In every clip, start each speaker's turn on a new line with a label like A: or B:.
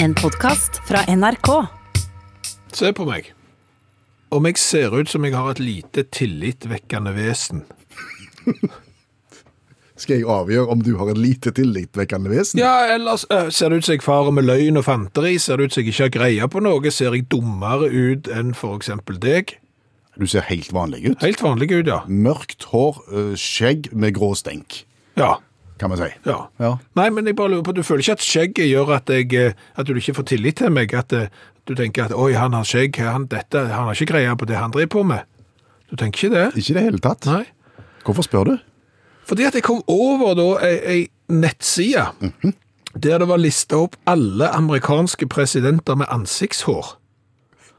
A: En podkast fra NRK.
B: Se på meg. Om jeg ser ut som jeg har et lite tillitvekkende vesen.
C: Skal jeg avgjøre om du har et lite tillitvekkende vesen?
B: Ja, ellers øh, ser det ut som jeg farer med løgn og fanteri, ser det ut som jeg ikke har greie på noe, ser jeg dummere ut enn for eksempel deg.
C: Du ser helt vanlig ut.
B: Helt vanlig ut, ja.
C: Mørkt hår, øh, skjegg med grå stenk,
B: Ja,
C: kan vi si.
B: ja.
C: Ja.
B: Nei, men jeg bare lurer på, du føler ikke at skjegget gjør at, jeg, øh, at du ikke får tillit til meg, at øh, du tenker at, oi, han har skjegg, han, dette, han har ikke greie på det han driver på med. Du tenker ikke det?
C: Ikke i det hele tatt.
B: Nei.
C: Hvorfor spør du?
B: Fordi at jeg kom over da ei, ei nettside der det var lista opp alle amerikanske presidenter med ansiktshår.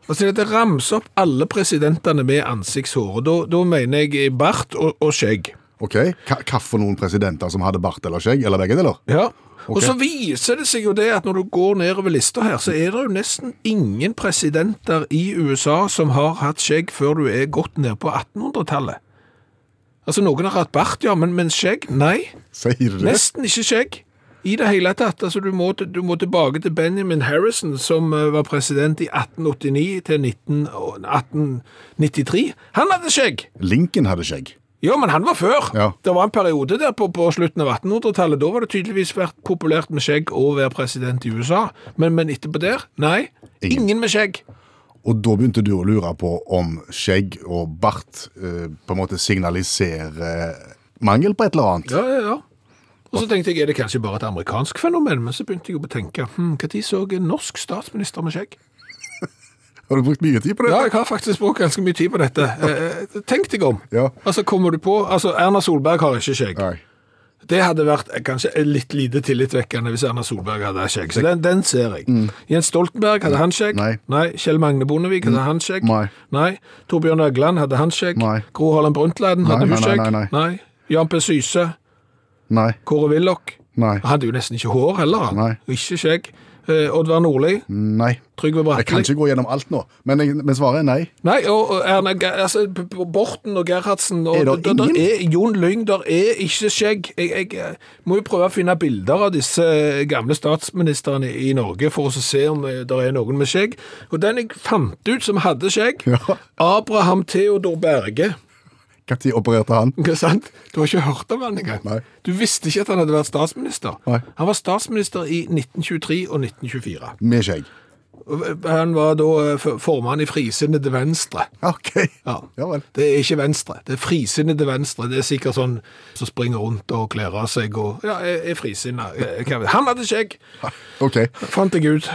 B: Altså det det ramser opp alle presidentene med ansiktshår, og da, da mener jeg bart og, og skjegg.
C: Ok, Ka- hva for noen presidenter som hadde bart eller skjegg, eller begge deler?
B: Ja. Og så viser det seg jo det at når du går nedover lista her, så er det jo nesten ingen presidenter i USA som har hatt skjegg før du er godt ned på 1800-tallet. Altså noen har hatt bart, ja, men, men skjegg? Nei.
C: Sier du det?
B: Nesten ikke skjegg i det hele tatt. Altså, du, må, du må tilbake til Benjamin Harrison, som eh, var president i 1889 til 19, og- 1893. Han hadde skjegg!
C: Lincoln hadde skjegg.
B: Jo, men han var før.
C: Ja.
B: Det var en periode der på, på slutten av 1800-tallet. Da var det tydeligvis vært populært med skjegg å være president i USA. Men, men etterpå der? Nei.
C: Ingen.
B: Ingen, med skjegg.
C: Og da begynte du å lure på om skjegg og bart eh, på en måte signaliserer eh, mangel på et eller annet.
B: Ja, ja, ja. Og så tenkte jeg, er det kanskje bare et amerikansk fenomen? Men så begynte jeg å tenke, hm, hva tid så en norsk statsminister med skjegg?
C: Har du brukt mye tid på det?
B: Ja, jeg har faktisk brukt ganske mye tid på dette. Eh, Tenk deg om.
C: Ja.
B: Altså, kommer du på Altså, Erna Solberg har ikke skjegg.
C: Nei.
B: Det hadde vært eh, kanskje litt lite tillitvekkende hvis Erna Solberg hadde skjegg. Så den, den ser jeg. Jens Stoltenberg hadde han skjegg.
C: Mm. Nei. Mm.
B: Kjell Magne Bondevik hadde han skjegg.
C: Nei.
B: Torbjørn Øgland hadde han skjegg.
C: Nei.
B: Gro Harlem Brundtland hadde
C: Nei,
B: hun
C: nei,
B: skjegg.
C: nei, nei,
B: Jan P. Syse.
C: Nei.
B: Kåre Willoch.
C: Nei.
B: Han hadde jo nesten ikke hår heller. han.
C: Nei.
B: Ikke skjegg. Eh, Oddvar Nordli.
C: Nei.
B: Trygve
C: Jeg kan
B: Bratteli.
C: ikke gå gjennom alt nå, men, jeg, men svaret er nei.
B: Nei, og og Erna, Ge- altså, B- B- Borten og Gerhardsen og,
C: Er det
B: der- der
C: ingen?
B: er, Jon Lyng, der er ikke skjegg. Jeg, jeg eh, må jo prøve å finne bilder av disse eh, gamle statsministerne i Norge for å så se om det er noen med skjegg. Og den jeg fant ut som hadde skjegg,
C: Ja.
B: Abraham Theodor Berge.
C: Når opererte han?
B: Ikke sant? Du har ikke hørt om han engang.
C: Nei.
B: Du visste ikke at han hadde vært statsminister.
C: Nei.
B: Han var statsminister i 1923 og 1924.
C: Med skjegg.
B: Og Han var da eh, for- formann i Frisinnede Venstre.
C: OK.
B: Ja.
C: Ja vel.
B: Det er ikke venstre. Det er frisinnede venstre. Det er sikkert sånn som springer rundt og kler av seg og ja, er, er frisinna. Eh, hva vet jeg. Han hadde skjegg,
C: Ok.
B: fant jeg ut.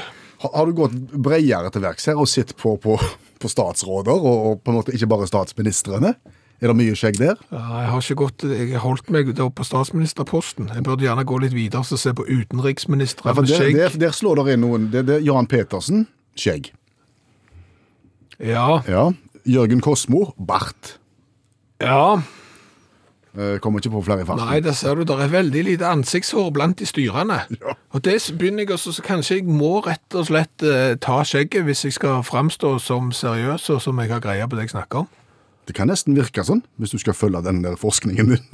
C: Har, har du gått bredere til verks her og sett på, på, på statsråder, og, og på en måte ikke bare statsministrene? Er det mye skjegg der?
B: Ja, Jeg har ikke gått, jeg har holdt meg da på statsministerposten. Jeg burde gjerne gå litt videre og se på utenriksministre
C: Ja, for
B: med
C: der,
B: skjegg.
C: der, der slår det inn noen. Det, det, Jan Petersen, skjegg.
B: Ja,
C: Ja. Jørgen Kosmo, bart.
B: ja.
C: Eh, Kommer ikke på flere i
B: Nei,
C: farten.
B: der ser du, der er veldig lite ansiktshår blant de styrende.
C: Ja.
B: Og det s- begynner jeg også, så kanskje jeg må rett og slett eh, ta skjegget hvis jeg skal framstå som seriøs og som jeg har greie på det jeg snakker om.
C: Det kan nesten virke sånn, hvis du skal følge den der forskningen din.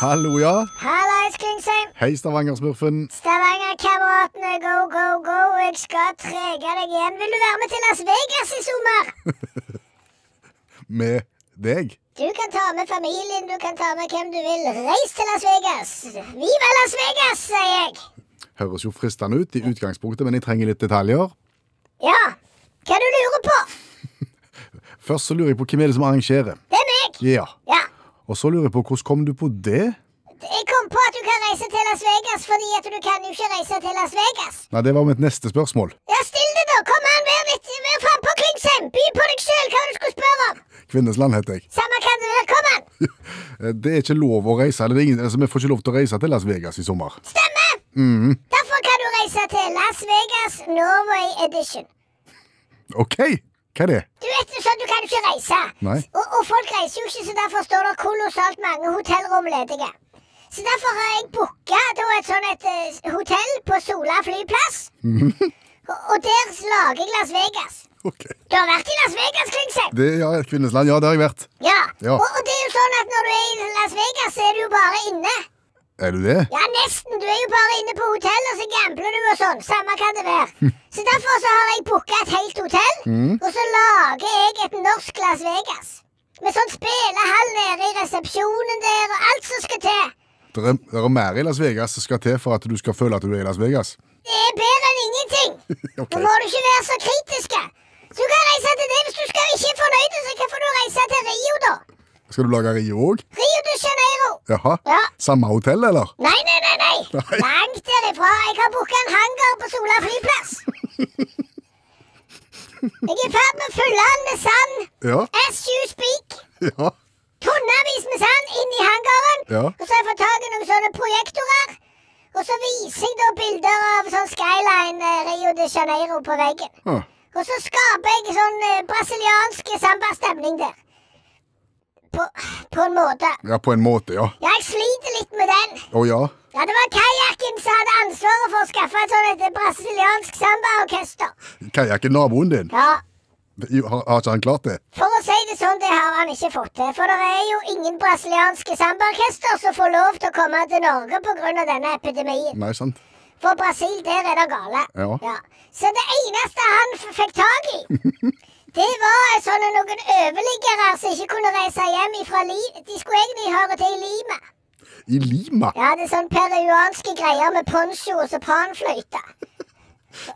C: Hallo, ja.
D: Hallais, Klingsheim.
C: Hei, Stavanger-smurfen.
D: Stavanger-kameratene, go, go, go. Jeg skal trege deg hjem. Vil du være med til Las Vegas i sommer?
C: Med deg.
D: Du kan ta med familien, du kan ta med hvem du vil. Reis til Las Vegas. Viva Las Vegas, sier jeg.
C: Høres jo fristende ut i utgangspunktet, men jeg trenger litt detaljer.
D: Ja, hva du lurer på?
C: Først så lurer jeg på hvem er det som arrangerer.
D: Det er meg.
C: Ja.
D: Ja.
C: Og så lurer jeg på hvordan kom du på det?
D: Jeg kom på at du kan reise til Las Vegas fordi at du kan jo ikke reise til Las Vegas.
C: Nei, det var mitt neste spørsmål.
D: Ja, still det, da. Kom an, vær litt vær frampå, Klingsheim. By på deg sjøl hva du skulle spørre om.
C: Kvinnesland heter jeg.
D: Samme kan det være. Kom an.
C: Eh, Det er ikke lov å reise, eller det er ingen, altså, vi får ikke lov til å reise til Las Vegas i sommer.
D: Stemmer! Derfor kan du reise til Las Vegas Norway Edition.
C: OK, hva er det?
D: Du vet jo sånn, du kan jo ikke reise.
C: Nei.
D: Og, og folk reiser jo ikke, så derfor står det kolossalt mange hotellrom ledige. Så derfor har jeg booka et sånn et eh, hotell på Sola flyplass. Og, og der lager jeg Las Vegas.
C: Ok.
D: Du har vært i Las Vegas, Klingsheim.
C: Det, ja, Kvinnesland. Ja, det har jeg vært.
D: Ja.
C: Ja.
D: Og, og det er jo sånn at når du er i Las Vegas, så er du jo bare inne.
C: Er du det?
D: Ja, nesten. Du er jo bare inne på hotell, og så gambler du og sånn. Samme kan det være. Så derfor så har jeg booka et helt hotell, og så lager jeg et norsk Las Vegas. Med sånn spillehall nede i resepsjonen der, og alt som skal til.
C: Det er, det er mer i Las Vegas som skal til for at du skal føle at du er i Las Vegas.
D: Det er bedre enn ingenting.
C: Ok.
D: Nå må du ikke være så kritiske. Så du kan reise til det hvis du skal ikke er fornøyd, så kan du reise til Rio, da.
C: Skal du lage Rio òg?
D: Rio de Janeiro.
C: Jaha.
D: Ja.
C: Samme hotell, eller?
D: Nei, nei, nei, nei.
C: Nei.
D: Langt derifra. Jeg har booka en hangar på Sola flyplass. Jeg er i ferd med å fylle den med sand.
C: Ja.
D: SU Speak.
C: ja.
D: Tonnevis med sand inn i hangaren.
C: Ja.
D: Og så har jeg fått tak i noen sånne projektorer. Og så viser jeg da bilder av sånn skyline eh, Rio de Janeiro på veggen.
C: Ah.
D: Og så skaper jeg sånn eh, brasiliansk sambastemning der. På, på en måte.
C: Ja, på en måte, ja.
D: Ja, jeg sliter litt med den.
C: Å ja.
D: Ja, det var kajakken som hadde ansvaret for å skaffe et sånt et brasiliansk sambaorkester.
C: Kajakken naboen din.
D: Ja,
C: Har, har ikke han klart det?
D: for å si det sånn, det har han ikke fått til. For det er jo ingen brasilianske sambaorkester som får lov til å komme til Norge pga. denne epidemien.
C: Nei, sant?
D: For Brasil, der er det gale.
C: Ja.
D: Så det eneste han f fikk tak i, det var sånne noen overliggere som ikke kunne reise hjem ifra Li... De skulle egentlig høre til i Lima.
C: I Lima?
D: Ja, det er sånn peruanske greier med poncho og sopanfløyte.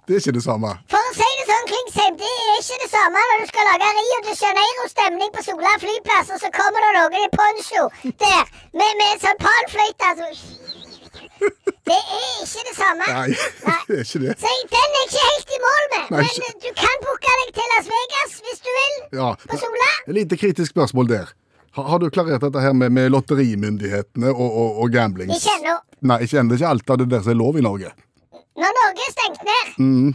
C: Det er ikke det samme.
D: For å si det sånn, Klingsheim, det er ikke det samme når du skal lage Rio de Janeiro-stemning på Sola flyplass, og så kommer det noen i poncho der med, med sånn panfløyte. Altså. Det er ikke det samme.
C: Nei, det er ikke det.
D: Så jeg- den er jeg ikke helt i mål med.
C: Nei,
D: Men
C: ikke-
D: eh, du kan booke deg til Las Vegas hvis du vil.
C: Ja.
D: På Sola.
C: Et lite kritisk spørsmål der. Har, har du klarert dette her med, med lotterimyndighetene og, og, og gamblings...
D: Ikke ennå.
C: Nei, ikke ennå. Det er ikke alt av det der som er lov i Norge.
D: Når Norge er stengt ned,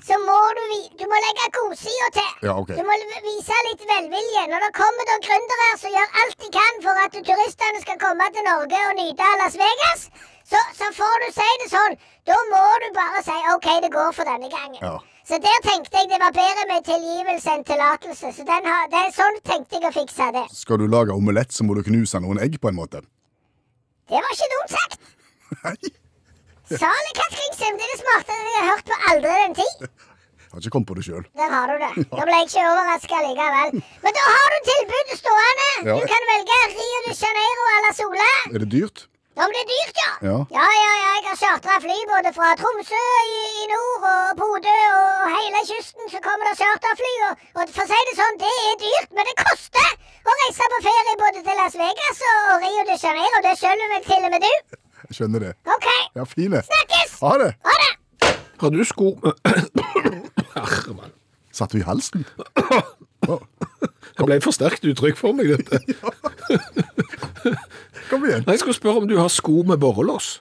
D: så må du, vi- du må legge godsida til.
C: Mm. Ja, ok.
D: Du må l- vise litt velvilje. Når det kommer da gründere som gjør alt de kan for at turistene skal komme til Norge og nyte Las Vegas, så, så får du si det sånn. Da må du bare si OK, det går for denne gangen.
C: Ja.
D: Så der tenkte jeg det var bedre med tilgivelse enn tillatelse. Så den har, det er sånn tenkte jeg å fikse det.
C: Skal du lage omelett, så må du knuse noen egg, på en måte.
D: Det var ikke dumt sagt.
C: Nei. Jeg
D: Salig Katt Klingsheim, det er det smarteste jeg har hørt på aldri den tid.
C: har ikke kommet på det sjøl.
D: Der har du det. Da ble jeg ikke overraska likevel. Men da har du tilbudet stående.
C: Ja.
D: Du kan velge Rio de Janeiro eller Sola.
C: Er det dyrt?
D: Om det er dyrt, ja.
C: Ja.
D: ja, ja, ja, Jeg har chartra fly både fra Tromsø i, i nord og Bodø og hele kysten. Så kommer det charterfly. Og, og for å si det sånn, det er dyrt, men det koster å reise på ferie både til Las Vegas og, og Rio de Janeiro. Det skjønner vel til og med du.
C: Jeg skjønner det.
D: OK.
C: Ja, fine.
D: Snakkes!
C: Ha det.
D: Ha det!
B: Har du sko Herman.
C: Satt du i halsen? Å,
B: Det ble for sterkt uttrykk for meg, dette.
C: Kom igjen.
B: Nei, Jeg skulle spørre om du har sko med borrelås.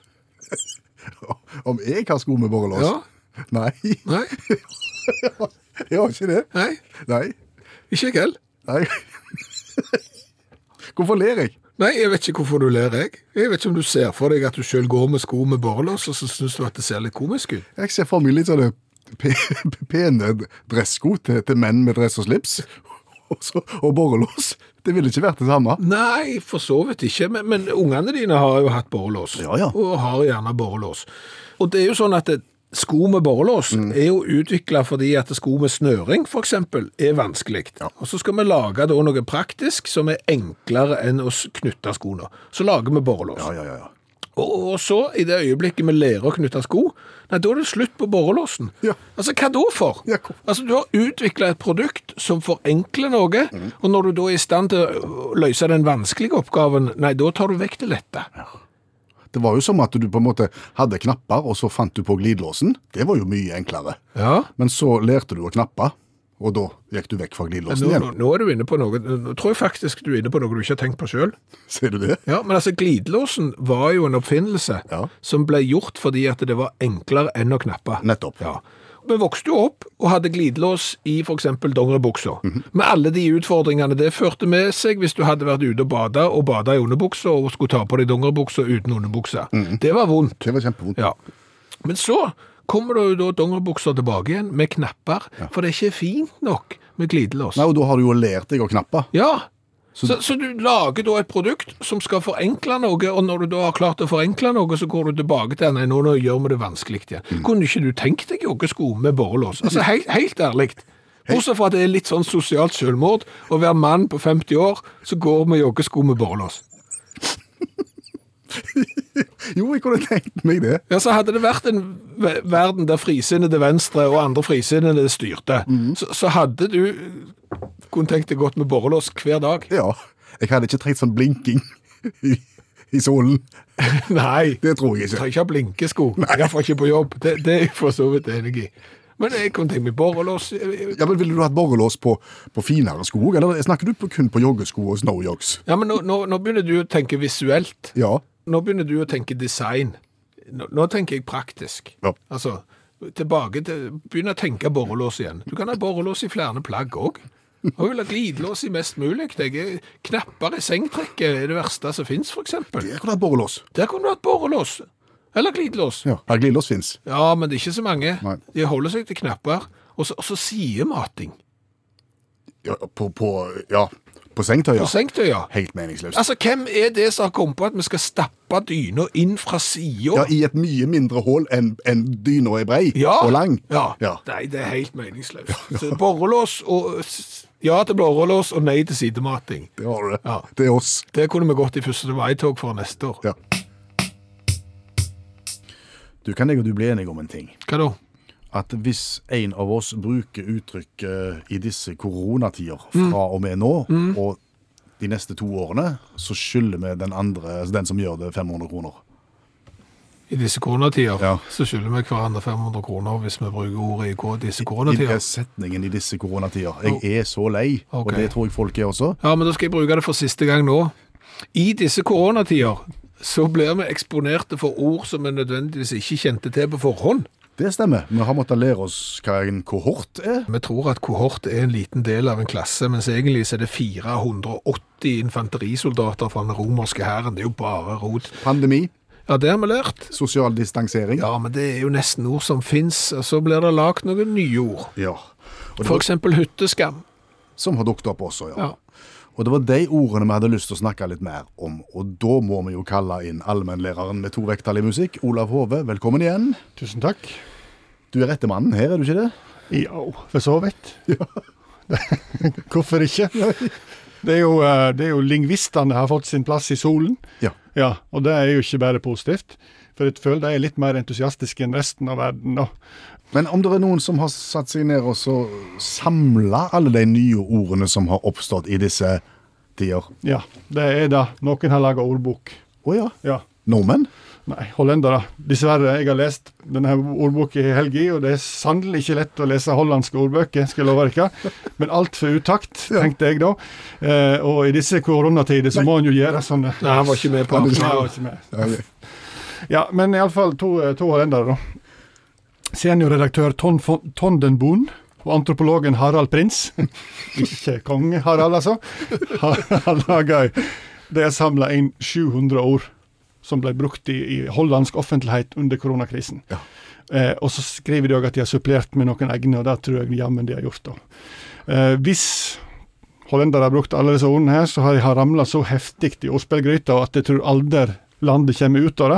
C: Om jeg har sko med borrelås?
B: Ja.
C: Nei,
B: Nei?
C: jeg har ikke det.
B: Nei,
C: Nei.
B: ikke jeg heller.
C: Nei. Hvorfor ler jeg?
B: Nei, jeg vet ikke hvorfor du ler, jeg. Jeg vet ikke om du ser for deg at du sjøl går med sko med borrelås, og så syns du at det ser litt komisk ut.
C: Jeg ser for meg litt sånne pe- pene dressko til, til menn med dress og slips. Og, så, og borrelås. Det ville ikke vært det samme.
B: Nei, for så vidt ikke, men, men ungene dine har jo hatt borrelås.
C: Ja, ja.
B: Og har gjerne borrelås. Og det er jo sånn at det, sko med borrelås
C: Mm.
B: er jo utvikla fordi at sko med snøring, f.eks., er vanskelig. Og så skal vi lage da noe praktisk som er enklere enn å s- knytte skoene. Så lager vi borrelås.
C: Ja, ja, ja. ja.
B: Og, og så, i det øyeblikket vi lærer å knytte sko, nei, da er det slutt på borrelåsen.
C: Ja.
B: Altså, hva da for?
C: Ja, kom.
B: Altså, du har utvikla et produkt som forenkler noe, og når du da er i stand til å løse den vanskelige oppgaven, nei, da tar du vekk det lette.
C: Det var jo som at du på en måte hadde knapper, og så fant du på glidelåsen. Det var jo mye enklere.
B: Ja.
C: Men så lærte du å knappe, og da gikk du vekk fra
B: Nå,
C: glidelåsen
B: nå,
C: igjen.
B: nå er du inne på noe Nå tror jeg faktisk du er inne på noe du ikke har tenkt på sjøl.
C: Ser du det?
B: Ja, men altså, glidelåsen var jo en oppfinnelse
C: Ja.
B: som ble gjort fordi at det var enklere enn å knappe.
C: Nettopp.
B: Ja. Vi vokste jo opp og hadde glidelås i f.eks. dongeribuksa. Med alle de utfordringene det førte med seg hvis du hadde vært ute og bada og bada i underbuksa og skulle ta på deg dongeribuksa uten underbuksa. Det var vondt.
C: Det var kjempevondt.
B: Ja. Men så kommer det jo da dongeribukser tilbake igjen med knapper, for det er ikke fint nok med glidelås.
C: Nei, og da har du jo lært deg å knappe.
B: Ja. Så, så, du lager da et produkt som skal forenkle noe, og når du da har klart å forenkle noe, så går du tilbake til nei, nå, nå gjør vi det vanskelig igjen. Kunne ikke du tenkt deg joggesko med borrelås? Altså, helt, helt ærlig. Bortsett fra at det er litt sånn sosialt selvmord å være mann på 50 år som går med joggesko med borrelås.
C: Jo, jeg kunne tenkt meg det.
B: Ja, så hadde det vært en ve- verden der frisinnede venstre og andre frisinnede styrte, så, så hadde du kunne tenkt deg godt med borrelås hver dag.
C: Ja. Jeg hadde ikke trengt sånn blinking i, i solen.
B: Nei.
C: Det tror jeg
B: Du trenger
C: ikke.
B: ikke ha blinkesko. Iallfall ikke på jobb. Det, det er jeg for så vidt enig i. Men jeg kunne tenkt meg borrelås.
C: Ja, men Ville du hatt borrelås på, på finere sko, eller snakker du på, kun på joggesko og snowjogs?
B: Ja, men nå, nå, nå begynner du å tenke visuelt.
C: Ja.
B: Nå begynner du å tenke design. Nå, nå tenker jeg praktisk.
C: Ja.
B: Altså, tilbake til Begynn å tenke borrelås igjen. Du kan ha borrelås i flere plagg òg. Og vil ha glidelås i mest mulig. Det er- Knapper i sengtrekket er det verste som fins, f.eks.
C: Der kunne du hatt borrelås.
B: Der kunne du hatt borrelås. Eller glidelås.
C: Ja. Her glidelås fins.
B: Ja, men det er ikke så mange.
C: Nei.
B: De holder seg til knapper. Og så, og så sidemating
C: Ja, på, på, ja. på sengtøy,
B: på
C: ja.
B: sengetøya.
C: Helt meningsløst.
B: Altså, hvem er det som har kommet på at vi skal stappe dyna inn fra sida?
C: Ja, I et mye mindre hull enn enn dyna er brei og lang.
B: Ja.
C: Ja.
B: Nei, det er helt meningsløst. Så borrelås og Ja til borrelås og nei til sidemating.
C: Det har du det.
B: Ja.
C: Det er oss.
B: Det kunne vi gått i 1. mai-tog for neste år.
C: Ja. Du kan jeg og du bli enige om en ting.
B: Hva da?
C: At hvis en av oss bruker uttrykket i disse koronatider
B: Mm.
C: fra og med nå, og de neste to årene, så skylder vi den andre, altså den som gjør det, 500 kroner.
B: I disse koronatider
C: Ja.
B: så skylder vi hverandre 500 kroner hvis vi bruker ordet i ko- disse
C: I den
B: koronatider.
C: setningen i disse koronatider. Jeg er så lei, og
B: Ok.
C: det tror jeg folk er også.
B: Ja, men da skal jeg bruke det for siste gang nå. I disse koronatider så blir vi eksponerte for ord som vi nødvendigvis ikke kjente til på forhånd.
C: Det stemmer. Vi har måttet lære oss hva en kohort er.
B: Vi tror at kohort er en liten del av en klasse, mens egentlig så er det 480 infanterisoldater fra den romerske hæren. Det er jo bare rot.
C: Pandemi,
B: Ja, det har vi lært.
C: sosial distansering.
B: Ja, men det er jo nesten ord som fins, og så blir det lagd noen nye ord.
C: Ja. Og det
B: For
C: var,
B: eksempel hytteskam.
C: som har dukket opp også, ja.
B: Ja.
C: Og det var de ordene vi hadde lyst til å snakke litt mer om. Og da må vi jo kalle inn allmennlæreren med to vekttall i musikk, Olav Hove. Velkommen igjen.
E: Tusen takk.
C: Du er rette mannen her, er du ikke det?
E: Ja, for så vidt. Hvorfor ikke? Det er, jo, eh, det er jo lingvistene har fått sin plass i solen.
C: Ja.
E: Ja, og det er jo ikke bare positivt. For jeg føler de er litt mer entusiastiske enn resten av verden. da.
C: Men om det er noen som har satt seg ned og så samla alle de nye ordene som har oppstått i disse tider
E: Ja, det er det. Noen har laga ordbok.
C: Å ja.
E: Ja.
C: Nordmenn?
E: Nei, hollendere. Dessverre, jeg har lest denne her ordboka i helga, og det er sannelig ikke lett å lese hollandske ordbøker, skal jeg love dere. Men altfor utakt, tenkte jeg da. Eh, og i disse koronatider så må en jo gjøre sånne
B: Nei, han var ikke med på
E: Nei,
B: det.
E: jeg var ikke med. Ja, men iallfall to, eh, to hollendere, da. Seniorredaktør Ton von- Tondenboen og antropologen Harald Prins. Ikke konge Harald, altså. Harald Lagøy. De har samla inn 700 ord som ble brukt i, i hollandsk offentlighet under koronakrisen. Eh, og så skriver de òg at de har supplert med noen egne, og det tror jeg jammen de har gjort. da. Eh, hvis hollendere har brukt alle disse ordene her, så har de ramla så heftig i ordspillgryta at jeg tror aldri landet kommer ut av det.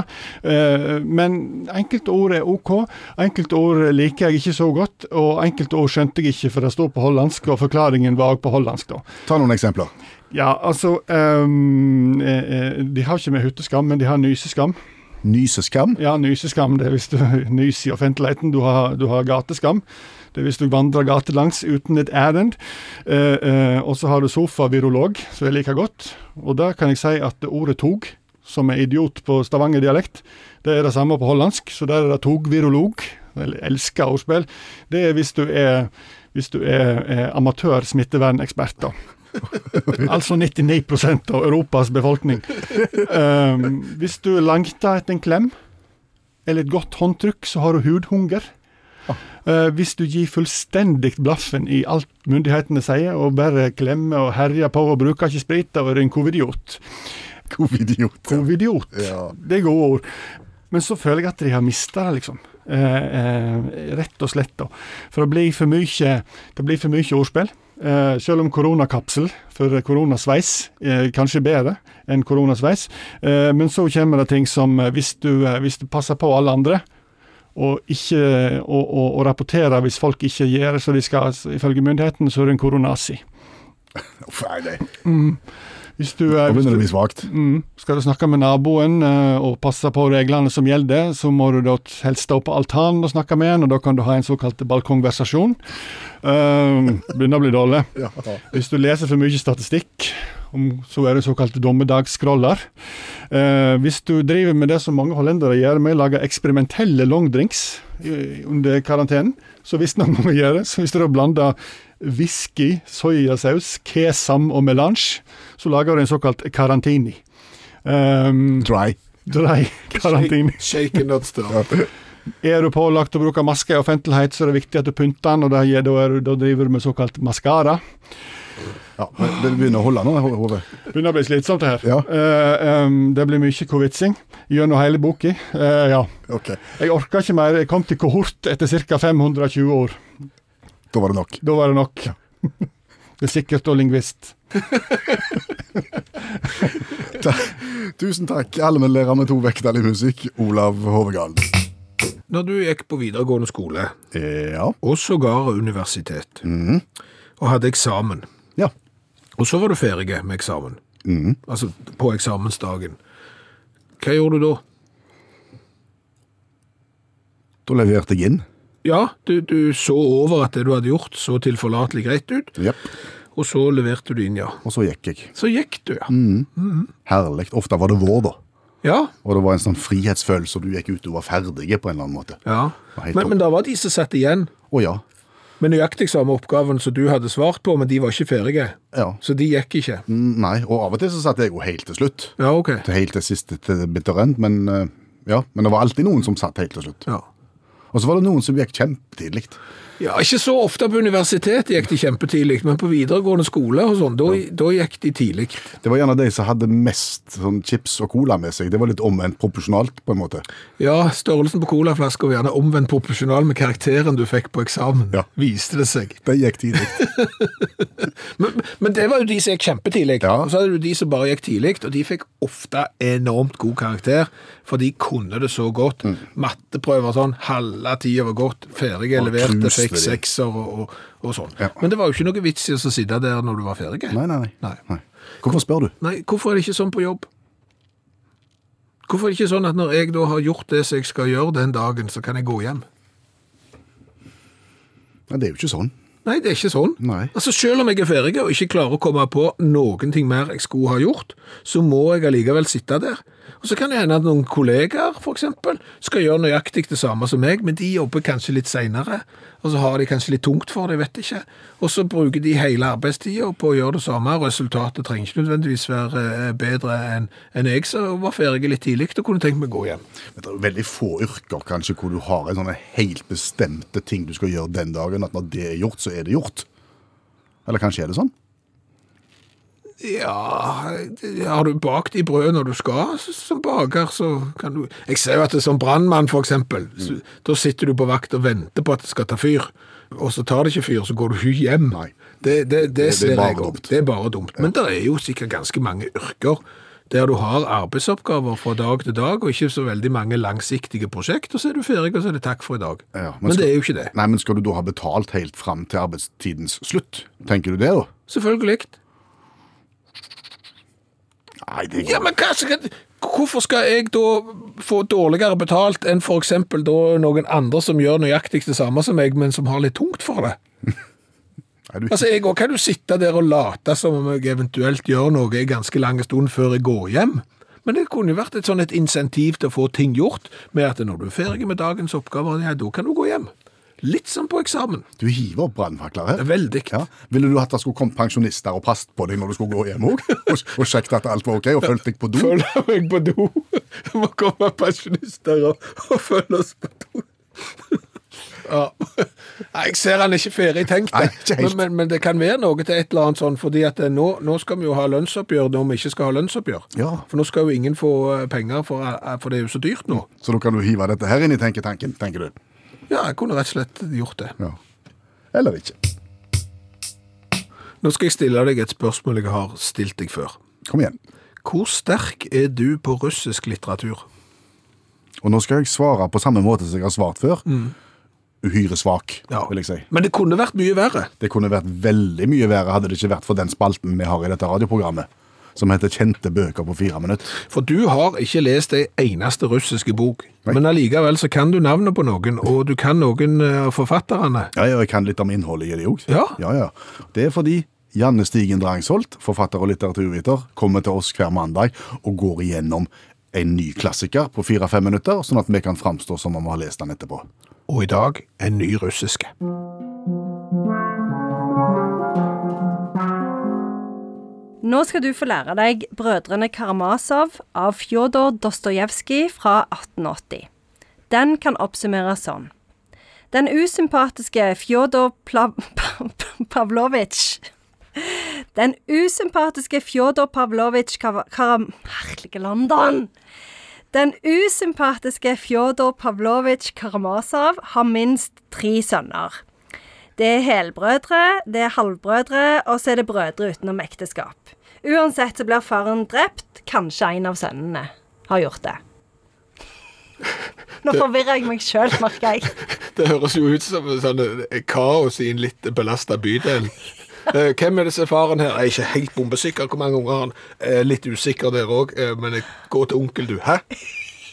E: Eh, Men enkelte ord er OK. Enkelte ord liker jeg ikke så godt, og enkelte ord skjønte jeg ikke, for det står på hollandsk, og forklaringen var òg på hollandsk, da.
C: Ta noen eksempler.
E: Ja, altså ehm, eh, eh, De har ikke med hytteskam, men de har nyseskam.
C: Nyseskam?
E: Ja, nyseskam, det er hvis du nyser i offentligheten. Du har, du har gateskam. Det er hvis du vandrer gatelangs uten et ærend. Eh, eh, og så har du sofavirolog, som jeg liker godt. Og der kan jeg si at ordet tog, som er idiot på stavangerdialekt, det er det samme på hollandsk, så der er det togvirolog. Jeg elsker ordspill. Det er hvis du er, hvis du er, er amatør-smittevernekspert, da. altså 99 av Europas befolkning. Ehm, hvis du langter etter en klem eller et godt håndtrykk, så har du hudhunger. Eh, hvis du gir fullstendig blaffen i alt myndighetene sier, og bare klemmer og herjer på og bruker ikke sprit, da er du en covidiot.
C: Covidiot.
E: Covidiot.
C: Ja.
E: Det er gode ord. Men så føler jeg at de har mista det, liksom. Eh, eh, rett og slett. da. For det blir for mye, det blir for mye ordspill. Eh, selv om koronakapsel for koronasveis eh, kanskje er bedre enn koronasveis. Eh, men så kommer det ting som eh, hvis du, eh, hvis du passer på alle andre, og, ikke, og, og, og rapporterer hvis folk ikke gjør som de skal ifølge myndighetene, så er du en koronazi.
C: Uff, nei, det
E: Hvis du, eh,
C: Nå
E: hvis
C: begynner det
E: du
C: å bli svakt.
E: Mm. Skal du snakke med naboen eh, og passe på reglene som gjelder, så må du da helst stå på altanen og snakke med en, og da kan du ha en såkalt balkongversasjon. Eh, begynner å bli dårlig.
C: Ja.
E: Hvis du leser for mye statistikk, om- så er det såkalte dommedagsskroller. Eh, hvis du driver med det som mange hollendere gjør, med å lage eksperimentelle longdrinks i- under karantenen, så visste noen å gjøre. Så hvis du da blander whisky, soyasaus, kesam og melange, så lager du en såkalt karantini. Um,
C: Dry.
E: Drei karantini.
B: Shake and not stir.
E: Er du pålagt å bruke maske i offentlighet, så er det viktig at du pynter den, og da, da, er, du- da driver du med såkalt maskara.
C: Ja, men det begynner å holde nå, ho- hodet.
E: Begynner å bli slitsomt, det her.
C: Ja.
E: Eh, em, det blir mye kovitsing gjennom hele boka. Eh, ja.
C: Ok,
E: Jeg orka ikke mer. Jeg kom til kohort etter ca. 520 år.
C: da var det nok.
E: Da var det nok. Det er sikkert og lingvist.
C: Tusen takk, allmennlærer med to vekttall i musikk, Olav Hovegard.
B: Når du gikk på videregående skole,
C: Ja.
B: og sågar universitet, og hadde eksamen,
C: ja.
B: og så var du ferdig med eksamen,
C: Mm.
B: altså på eksamensdagen, hva gjorde du da?
C: Da leverte jeg inn.
B: Ja, du, du så over at det du hadde gjort så tilforlatelig greit ut,
C: Jepp.
B: og så leverte du inn, ja.
C: Og så gikk jeg.
B: Så gikk du, ja.
C: Mm. Herlig. Ofte var det vår, da.
B: Ja,
C: Og det var en sånn frihetsfølelse, og du gikk ut og var ferdig på en eller annen måte.
B: ja.
C: var helt
B: Men, men da var de som satt igjen
C: Å ja.
B: med nøyaktig samme oppgaven som du hadde svart på, men de var ikke ferdige,
C: Ja.
B: så de gikk ikke.
C: Mm, Nei, og av og til så satt jeg jo helt til slutt.
B: Ja, ok.
C: Til helt til siste til bitter end, men eh, ja. Men det var alltid noen som satt helt til slutt.
B: Ja.
C: Og så var det noen som gikk kjempetidlig.
B: Ja, ikke så ofte på universitet gikk de kjempetidlig, men på videregående skole og sånn, da, da gikk de tidlig.
C: Det var gjerne de som hadde mest sånn chips og cola med seg. Det var litt omvendt proporsjonalt, på en måte.
B: Ja, størrelsen på colaflasker var gjerne omvendt proporsjonal med karakteren du fikk på eksamen,
C: Ja.
B: viste det seg.
C: De gikk tidlig.
B: Men, men det var jo de som gikk kjempetidlig.
C: Ja.
B: Og så hadde du de som bare gikk tidlig, og de fikk ofte enormt god karakter, for de kunne det så godt.
C: Mm.
B: Matteprøver og sånn, halve tida var godt, ferdige,
C: Og
B: leverte,
C: knuste
B: fikk
C: de.
B: sekser og, og, og sånn.
C: Ja.
B: Men det var jo ikke noe vits i å sitte der når du var ferdig.
C: Nei, nei, nei.
B: Nei.
C: nei. Hvorfor spør du?
B: Nei, hvorfor er det ikke sånn på jobb? Hvorfor er det ikke sånn at når jeg da har gjort det som jeg skal gjøre den dagen, så kan jeg gå hjem?
C: Nei, det er jo ikke sånn.
B: Nei, det er ikke sånn.
C: Nei.
B: Altså, Selv om jeg er ferdig og ikke klarer å komme på noen ting mer jeg skulle ha gjort, så må jeg allikevel sitte der. Og Så kan det hende at noen kollegaer for eksempel, skal gjøre nøyaktig det samme som meg, men de jobber kanskje litt seinere, og så har de kanskje litt tungt for det, jeg vet ikke. Og så bruker de hele arbeidstida på å gjøre det samme, og resultatet trenger ikke nødvendigvis være eh, bedre enn enn jeg som var ferdig litt tidlig og kunne tenkt meg å gå hjem.
C: Men det er jo veldig få yrker kanskje hvor du har en sånn helt bestemte ting du skal gjøre den dagen, at når det er gjort, så er det gjort. Eller kanskje er det sånn?
B: Ja, har du bakt i brød når du skal så- som baker, så kan du Jeg ser jo at det er som brannmann, for eksempel. Så,
C: Mm.
B: Da sitter du på vakt og venter på at det skal ta fyr, og så tar det ikke fyr, så går du ikke hjem.
C: Nei.
B: Det, det, det,
C: det er
B: ser
C: bare
B: jeg også.
C: dumt.
B: Det er bare dumt. Men det er jo sikkert ganske mange yrker der du har arbeidsoppgaver fra dag til dag, og ikke så veldig mange langsiktige prosjekt, og så er du ferdig, og så er det takk for i dag.
C: Ja,
B: men
C: skal-
B: det er jo ikke det.
C: Nei, men skal du da ha betalt helt fram til arbeidstidens slutt? Tenker du det, da?
B: Selvfølgelig.
C: Nei, det går
B: Ja, men hva skal Hvorfor skal jeg da få dårligere betalt enn for eksempel da noen andre som gjør nøyaktig det samme som meg, men som har litt tungt for det?
C: Nei, du...
B: Altså, jeg også kan jo sitte der og late som om jeg eventuelt gjør noe en ganske lang stund før jeg går hjem. Men det kunne jo vært et sånn et insentiv til å få ting gjort, med at når du er ferdig med dagens oppgaver, ja, da kan du gå hjem. Litt som på eksamen.
C: du hiver opp brannfakler her.
B: Veldig.
C: Ja. Ville du hatt det skulle kommet pensjonister og passet på deg når du skulle gå hjem òg? Og, og sjekket at alt var OK, og fulgt deg på do?
B: Følger meg på do. Det må komme pensjonister og, og følge oss på do. Ja. Nei, Jeg ser han ikke ferdig tenkt,
C: Nei,
B: det.
C: ikke helt.
B: men, men, men det kan være noe til et eller annet sånn, fordi at eh, nå, nå skal vi jo ha lønnsoppgjør når vi ikke skal ha lønnsoppgjør.
C: Ja.
B: For nå skal jo ingen få eh, penger, for, eh, for det er jo så dyrt nå.
C: Så da kan du hive dette her inn i tenketanken, tenker du.
B: Ja, jeg kunne rett og slett gjort det.
C: Ja. Eller ikke.
B: Nå skal jeg stille deg et spørsmål jeg har stilt deg før.
C: Kom igjen.
B: Hvor sterk er du på russisk litteratur?
C: Og nå skal jeg svare på samme måte som jeg har svart før. Uhyre svak, vil jeg si.
B: Men det kunne vært mye verre.
C: Det kunne vært veldig mye verre hadde det ikke vært for den spalten vi har i dette radioprogrammet, som heter Kjente bøker på fire minutter.
B: For du har ikke lest ei eneste russiske bok. Men allikevel så kan du navnet på noen, og du kan noen eh, av forfatterne.
C: Ja, ja, jeg kan litt om innholdet i det òg.
B: Ja.
C: ja, ja. Det er fordi Janne Stigen Drangsholt, forfatter og litteraturviter, kommer til oss hver mandag og går igjennom en ny klassiker på fire-fem minutter, sånn at vi kan framstå som om vi har lest den etterpå.
B: Og i dag en ny russiske.
F: Nå skal du få lære deg Brødrene Karamazov av Fjodor Dostojevskij fra 1880. Den kan oppsummeres sånn. Den usympatiske Fjodor Plav Pavlovitsj Den usympatiske Fjodor Pavlovitsj Kava- Karam... Herlige London! Den usympatiske Fjodor Pavlovitsj Karamazov har minst tre sønner. Det er helbrødre, det er halvbrødre, og så er det brødre utenom ekteskap. Uansett så blir faren drept. Kanskje en av sønnene har gjort det. Nå forvirrer jeg meg sjøl, merker jeg.
B: Det høres jo ut som en sånn eh, kaos i en litt belasta bydel. Eh, Hvem er disse faren her? Jeg er ikke helt bombesikker hvor mange unger har han. Eh, Litt usikker der òg, men jeg går til onkel, du. Hæ?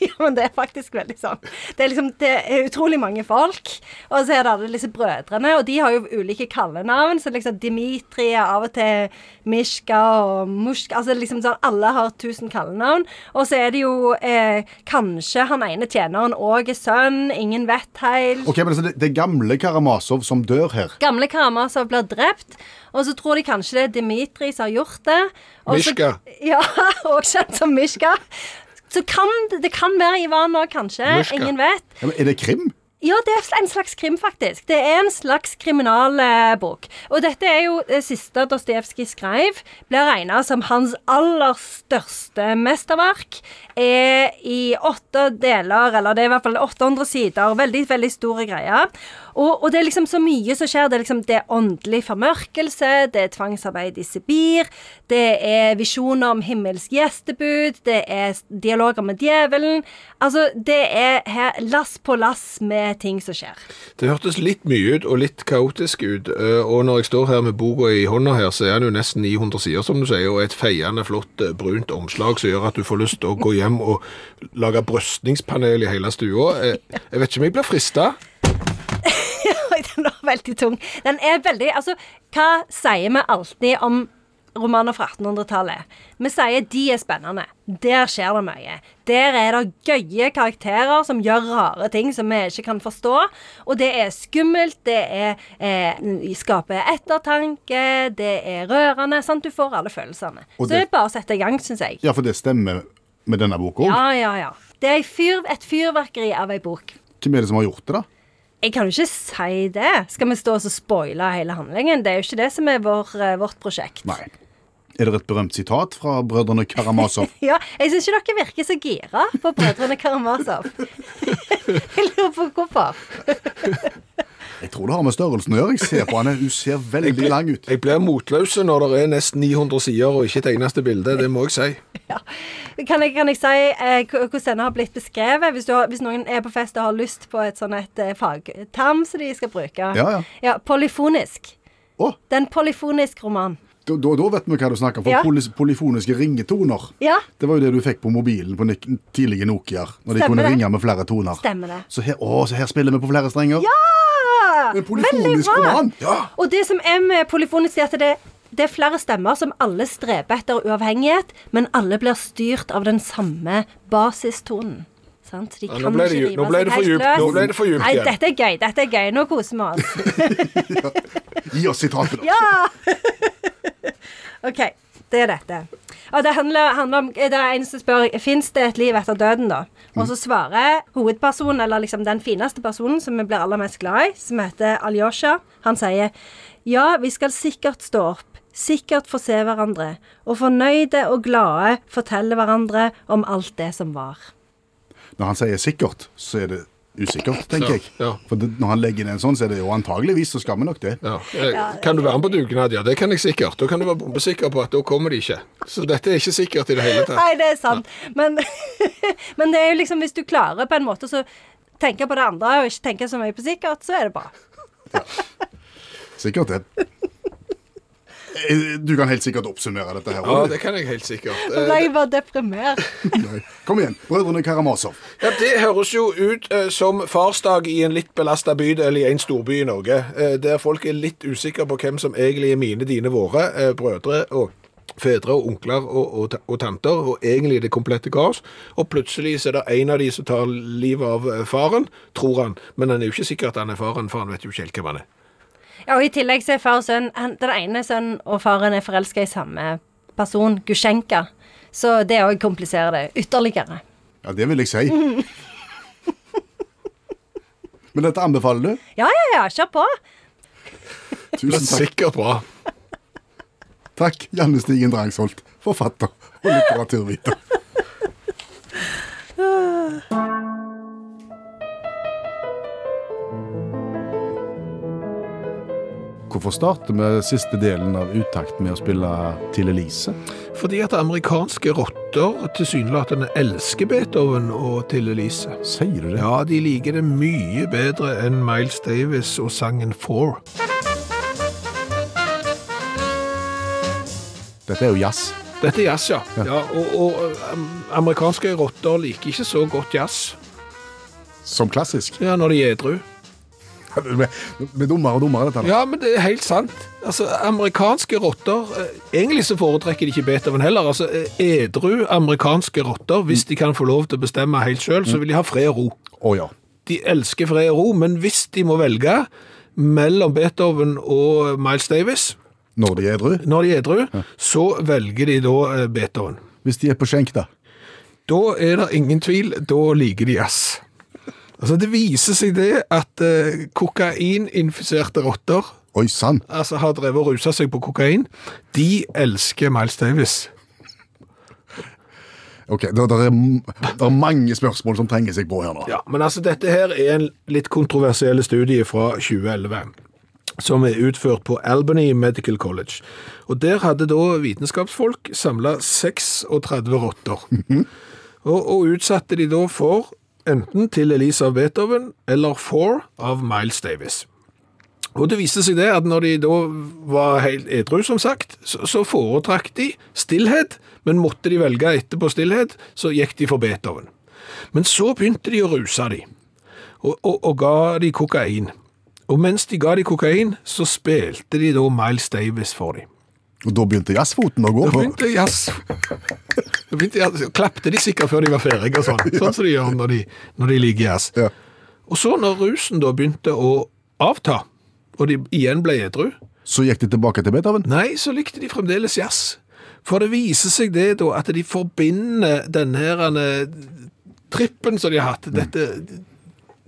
F: Ja, men det er faktisk veldig sånn. Det er, liksom, det er utrolig mange folk, og så er det alle disse brødrene, og de har jo ulike kallenavn, så liksom Dimitri er av og til Mishka og Mushka, altså liksom sånn, alle har tusen kallenavn, og så er det jo eh, kanskje han ene tjeneren òg er sønn, ingen vet helt.
C: Ok, men altså, det, det er gamle Karamazov som dør her.
F: Gamle karer som blir drept, og så tror de kanskje det er Dimitri som har gjort det. og så-
B: Mishka.
F: Ja, og kjent som Mishka. Så kan, det- det kan være Ivan òg, kanskje.
B: Mishka.
F: Ingen vet.
C: Ja, men er det krim?
F: Ja, det er en slags krim, faktisk. Det er en slags kriminalbok. Og dette er jo det siste Dostojevskij skrev. Blir regna som hans aller største mesterverk. Er i åtte deler, eller det er i hvert fall 800 sider. Veldig, veldig store greier. Og, og det er liksom så mye som skjer. Det er liksom det er åndelig formørkelse, det er tvangsarbeid i Sibir, det er visjoner om himmelsk gjestebud, det er s- dialoger med djevelen. Altså, det er her lass på lass med ting som skjer.
B: Det hørtes litt mye ut, og litt kaotisk ut. eh, Og når jeg står her med boka i hånda her, så er den jo nesten 900 sider, som du sier, og et feiende flott eh, brunt omslag som gjør at du får lyst til å gå hjem og lage brøstningspanel i hele stua. Eh, Jeg vet ikke om jeg blir frista.
F: Oi, den var veldig tung. Den er veldig Altså, hva sier vi alltid om romaner fra 1800-tallet? Vi sier de er spennende. Der skjer det mye. Der er det gøye karakterer som gjør rare ting som vi ikke kan forstå. Og det er skummelt, det er eh, skaper ettertanke, det er rørende. Sant? Du får alle følelsene.
C: Og
F: Så det
C: det-
F: er bare å sette i gang, syns jeg.
C: Ja, for det stemmer med denne boka òg.
F: Ja, ja, ja. Det er ei fyr, et fyrverkeri av ei bok.
C: Hvem er det som har gjort det, da?
F: Jeg kan jo ikke si det. Skal vi stå og så spoile hele handlingen? Det er jo ikke det som er vår, eh, vårt prosjekt.
C: Nei. Er det et berømt sitat fra brødrene Karamazov?
F: Ja, jeg syns ikke dere virker så gira på Brødrene Karamazov. jeg lurer på hvorfor.
C: Jeg tror det har med størrelsen å gjøre. Jeg ser på han, hun ser veldig lang ut.
B: Jeg blir motløs når det er nesten 900 sider og ikke et eneste bilde, det må jeg si.
F: Ja. Kan, jeg, kan jeg si eh, h- hvordan denne har blitt beskrevet? Hvis, du har, hvis noen er på fest og har lyst på et sånn et eh, fagterm som de skal bruke.
C: ja.
F: ja polyfonisk.
C: Å,
F: Det er en polyfonisk roman.
C: da, da, da vet vi hva du snakker om. For
F: Ja.
C: polis- polyfoniske ringetoner.
F: Ja.
C: Det var jo det du fikk på mobilen på nik- tidlige Nokiaer. Når de
F: Stemmer
C: kunne
F: det.
C: ringe med flere toner.
F: Stemmer det.
C: Så her, å, så her spiller vi på flere strenger.
F: Ja!
C: En polyfonisk
F: Veldig bra.
C: roman. Ja.
F: Og det som er med polyfonisk, er at det, det er flere stemmer som alle streber etter uavhengighet, men alle blir styrt av den samme basistonen. Sant? De
B: Ja, nå
F: kan
B: ble
F: ikke
B: det dju-
F: rive
B: nå ble
F: seg
B: det for
F: helt
B: djupt. Nå
F: løs.
B: ble det for djupt
F: Nei,
B: igjen.
F: dette er gøy. Dette er gøy. Nå koser vi oss.
C: Gi oss sitatet, da.
F: Ja! OK. Det er dette. Og det handler, handler om Det er en som spør Fins det et liv etter døden, da? Og så svarer hovedpersonen, eller liksom den fineste personen som vi blir aller mest glad i, som heter Alyosha, han sier Ja, vi skal sikkert stå opp. Sikkert få se hverandre. Og fornøyde og glade fortelle hverandre om alt det som var.
C: Når han sier sikkert, så er det usikkert,
B: Ja,
C: tenker jeg.
B: ja.
C: For det, når han legger inn en sånn, så er det jo antageligvis så skal vi nok det.
B: Ja. Eh, Kan du være med på dugnad? Ja, det kan jeg sikkert. Da kan du være bombesikker på at da kommer de ikke. Så dette er ikke sikkert i det hele tatt.
F: Nei, det er sant. Men, men det er jo liksom hvis du klarer på en måte så tenke på det andre og ikke tenke så mye på sikkert, så er det bra.
C: Sikkert det. Eh, Du kan helt sikkert oppsummere dette her.
B: Ja,
C: Ole.
B: det kan jeg helt sikkert.
F: Nå
B: Eh,
F: ble jeg bare deprimert.
C: Nei. Kom igjen, Brødrene Karamazov.
B: Ja, Det høres jo ut eh, som farsdag i en litt belasta bydel i en storby i Norge, eh, der folk er litt usikre på hvem som egentlig er mine, dine, våre, eh, brødre og fedre og onkler og, og, ta- og tanter, og egentlig det komplette kaos. Og plutselig så er det en av de som tar livet av eh, faren, tror han, men han er jo ikke sikker at han er faren, for han vet jo ikke helt hvem han er.
F: Ja, og I tillegg så er far og sønn han, Den ene sønnen og faren er forelska i samme person, Gusjenka. Så det òg kompliserer det ytterligere.
C: Ja, det vil jeg si. Men dette anbefaler du.
F: Ja, ja, ja, kjør på.
C: Tusen takk.
B: Sikkert bra.
C: Takk, Janne Stigen Drangsholt, forfatter og litteraturviter. Hvorfor starter vi siste delen av Utakt med å spille til Elise?
B: Fordi at amerikanske rotter tilsynelatende elsker Beethoven og Til Elise.
C: Sier du det?
B: Ja, de liker det mye bedre enn Miles Davis og sangen Four.
C: Dette er jo jazz.
B: Dette er jazz, ja. ja og, og um, amerikanske rotter liker ikke så godt jazz
C: Som klassisk.
B: ja, når de er edru.
C: Vi blir dummere og dummere, dette. her.
B: Ja, men det er helt sant. Altså, Amerikanske rotter eh, Egentlig så foretrekker de ikke Beethoven heller. Altså, eh, Edru amerikanske rotter, hvis de kan få lov til å bestemme helt sjøl,
C: Mm.
B: så vil de ha fred og ro.
C: Å ja.
B: De elsker fred og ro, men hvis de må velge mellom Beethoven og Miles Davis
C: Når de er edru.
B: når de er edru, så velger de da eh, Beethoven.
C: Hvis de er på skjenk, da.
B: Da er det ingen tvil, da liker de jazz. Altså, det viser seg det at eh, kokaininfiserte rotter
C: Oi sann.
B: altså har drevet og rusa seg på kokain. De elsker Miles Davis.
C: Ok, det, det, er, det er mange spørsmål som trenger seg på her nå.
B: Ja, Men altså, dette her er en litt kontroversiell studie fra 2011. Som er utført på Albany Medical College. Og Der hadde da vitenskapsfolk samla 36 rotter. Og, og utsatte de da for enten til Elisa Beethoven eller Four av Miles Davis. Og det viste seg det at når de da var helt edru, som sagt, så, så foretrakk de stillhet, men måtte de velge etterpå stillhet, så gikk de for Beethoven. Men så begynte de å ruse de, og, og, og ga de kokain. Og mens de ga de kokain, så spilte de da Miles Davis for dem.
C: Og da begynte jazzfoten å gå.
B: Da
C: for-
B: begynte jazz. Da begynte jazz. Klapte de sikkert før de var ferdige og sånn, sånn som de gjør når de, når de liker jazz.
C: Ja.
B: Og så når rusen da begynte å avta, og de igjen ble edru,
C: Så gikk de tilbake til Beethoven.
B: Nei, så likte de fremdeles jazz. For det viser seg det da, at de forbinder denne her eh, trippen som de har hatt, dette,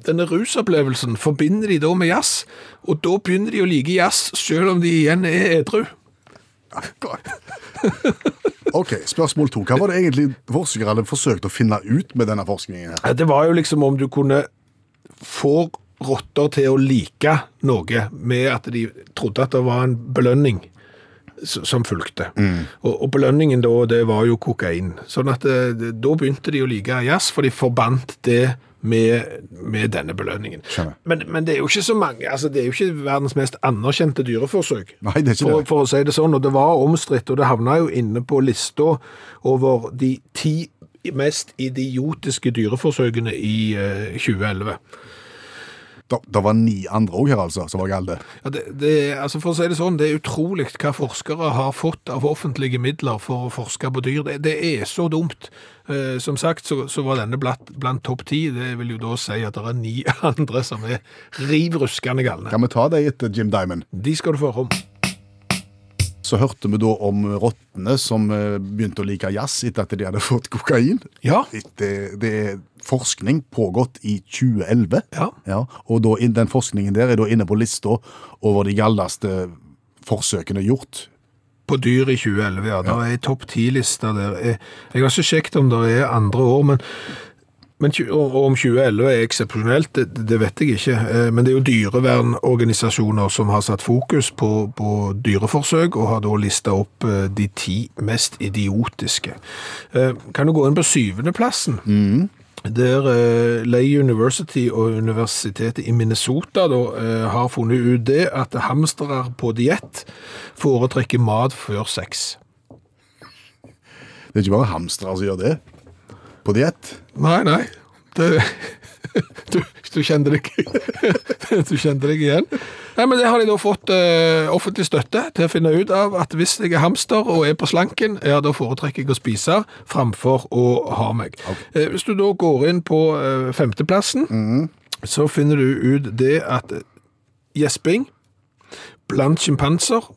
B: denne rusopplevelsen, forbinder de da med jazz. Og da begynner de å like jazz, selv om de igjen er edru.
C: Ok, Spørsmål to. Hva var det egentlig forskere hadde forsøkt å finne ut med denne forskningen? her?
B: Ja, Det var jo liksom om du kunne få rotter til å like noe med at de trodde at det var en belønning s- som fulgte. Og, og belønningen da, det var jo kokain. Sånn at eh, det, da begynte de å like jazz, for de forbandt det med, med denne belønningen.
C: Skjønner.
B: Men, men det er jo ikke så mange, altså det er jo ikke verdens mest anerkjente dyreforsøk.
C: Nei, det er ikke
B: for,
C: det.
B: for å si det sånn, og det var omstridt, og det havna jo inne på lista over de ti mest idiotiske dyreforsøkene i eh, 2011.
C: Da, da var ni andre òg her, altså, som var gale.
B: Ja, det, det, er- altså for å si det sånn, det er utrolig hva forskere har fått av offentlige midler for å forske på dyr. Det, det er så dumt. Eh, som sagt så, så var denne blant, blant topp ti. Det vil jo da si at det er ni andre som er riv ruskende galne.
C: Kan vi ta det etter Jim eh, Diamond?
B: De skal du få høre om.
C: Så hørte vi da om rottene som eh, begynte å like jazz etter at de hadde fått kokain.
B: Ja.
C: Det, det er forskning pågått i 2011.
B: Ja.
C: og da, inn- den forskningen der er da inne på lista over de galleste forsøkene gjort.
B: På dyr i 2011, ja. Det er ei topp ti-liste der. Jeg jeg har ikke sjekket om det er andre år, men, men tju- og og om 2011 er eksepsjonelt, det, det vet jeg ikke. Eh, Men det er jo dyrevernorganisasjoner som har satt fokus på, på dyreforsøk, og har da lista opp eh, de ti mest idiotiske. Eh, Kan du gå inn på syvendeplassen? Der eh, Lay University og Universitetet i Minnesota da, eh, har funnet ut det at hamstere på diett foretrekker mat før sex.
C: Det er ikke bare hamstere som gjør det. På diett.
B: Nei, nei. Det, du, du kjente deg Du kjente deg igjen. Nei, men Det har de da fått eh, offentlig støtte til å finne ut av. At hvis jeg er hamster og er på slanken, ja, da foretrekker jeg å spise framfor å ha meg. Eh, hvis du da går inn på eh, femteplassen, så finner du ut det at gjesping blant sjimpanser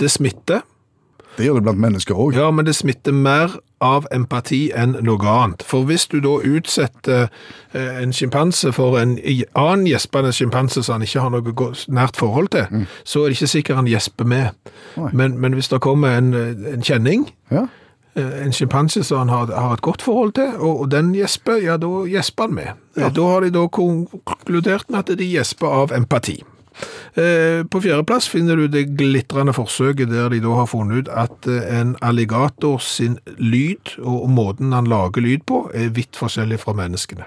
B: det smitter.
C: Det gjør det blant mennesker òg.
B: Ja, men det smitter mer av empati enn noe annet. For hvis du da utsetter eh, en sjimpanse for en i- annen gjespende sjimpanse som han ikke har noe go- nært forhold til, så er det ikke sikkert han gjesper med.
C: Nei.
B: Men, men hvis det kommer en, eh, en kjenning,
C: Ja.
B: eh, en sjimpanse som han har, har et godt forhold til, og, og den gjesper, ja, da gjesper han med. Eh, Da har de da konkludert med at de gjesper av empati. Eh, På fjerdeplass finner du det glitrende forsøket der de da har funnet ut at eh, en alligator sin lyd og måten han lager lyd på er vidt forskjellig fra menneskene.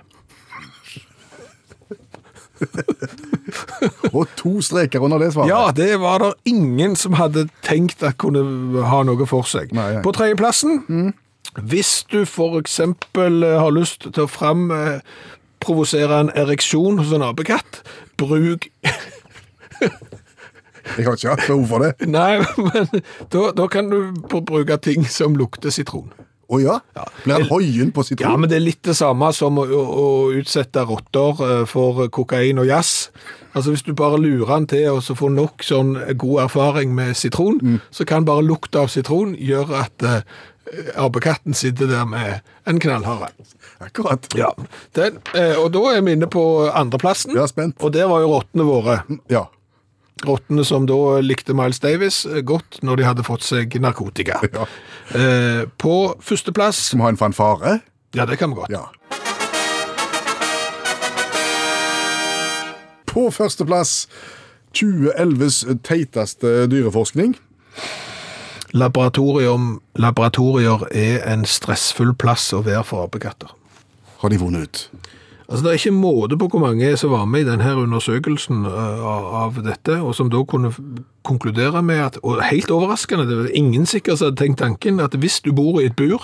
C: Og to streker under det svaret.
B: Ja, det var det ingen som hadde tenkt at kunne ha noe for seg.
C: Nei, Mm. nei.
B: På tredjeplassen, hvis du for eksempel eh, har lyst til å fram eh, provosere en ereksjon hos en apekatt, bruk
C: Jeg har ikke hatt behov for det.
B: Nei, men da, da kan du bruke ting som lukter sitron.
C: Å ja? Blir han hoien på sitt
B: Ja, men det er litt det samme som å, å, å utsette rotter eh, for kokain og jazz. Altså Hvis du bare lurer han til å så få nok sånn god erfaring med sitron, så kan bare lukta av sitron gjøre at eh, apekatten sitter der med en knallhare.
C: Akkurat.
B: Ja. Den, eh, og da er vi inne på andreplassen.
C: Jeg er spent.
B: Og der var jo rottene våre.
C: Ja.
B: Rottene som da likte Miles Davis eh, godt når de hadde fått seg narkotika.
C: Ja.
B: Eh, på førsteplass
C: Skal vi ha en fanfare?
B: Ja, det kan vi godt.
C: Ja. På førsteplass 2011s teiteste dyreforskning.
B: Laboratorium, laboratorier er en stressfull plass å være for apekatter.
C: Har de vunnet ut?
B: Altså, det er ikke måte på hvor mange som var med i denne undersøkelsen eh, av av dette, og som da kunne f- konkludere med at, og helt overraskende, det var ingen sikkert som hadde tenkt tanken, at hvis du bor i et bur,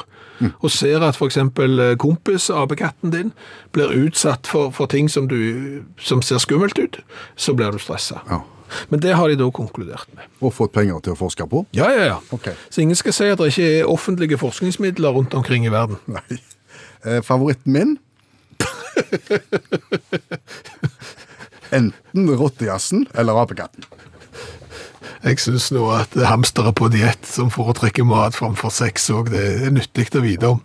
B: og ser at for eksempel eh, kompis, apekatten din, blir utsatt for, for ting som, du, som ser skummelt ut, så blir du stresset.
C: Ja.
B: Men det har de da konkludert med.
C: Og fått penger til å forske på?
B: Ja, ja, ja.
C: Ok.
B: Så ingen skal si at det ikke er offentlige forskningsmidler rundt omkring i verden.
C: Nei. Eh, favoritten min? Enten rottejassen eller apekatten.
B: Jeg syns nå at hamstere på diett som foretrekker mat framfor sex òg, det er nyttig å vite om.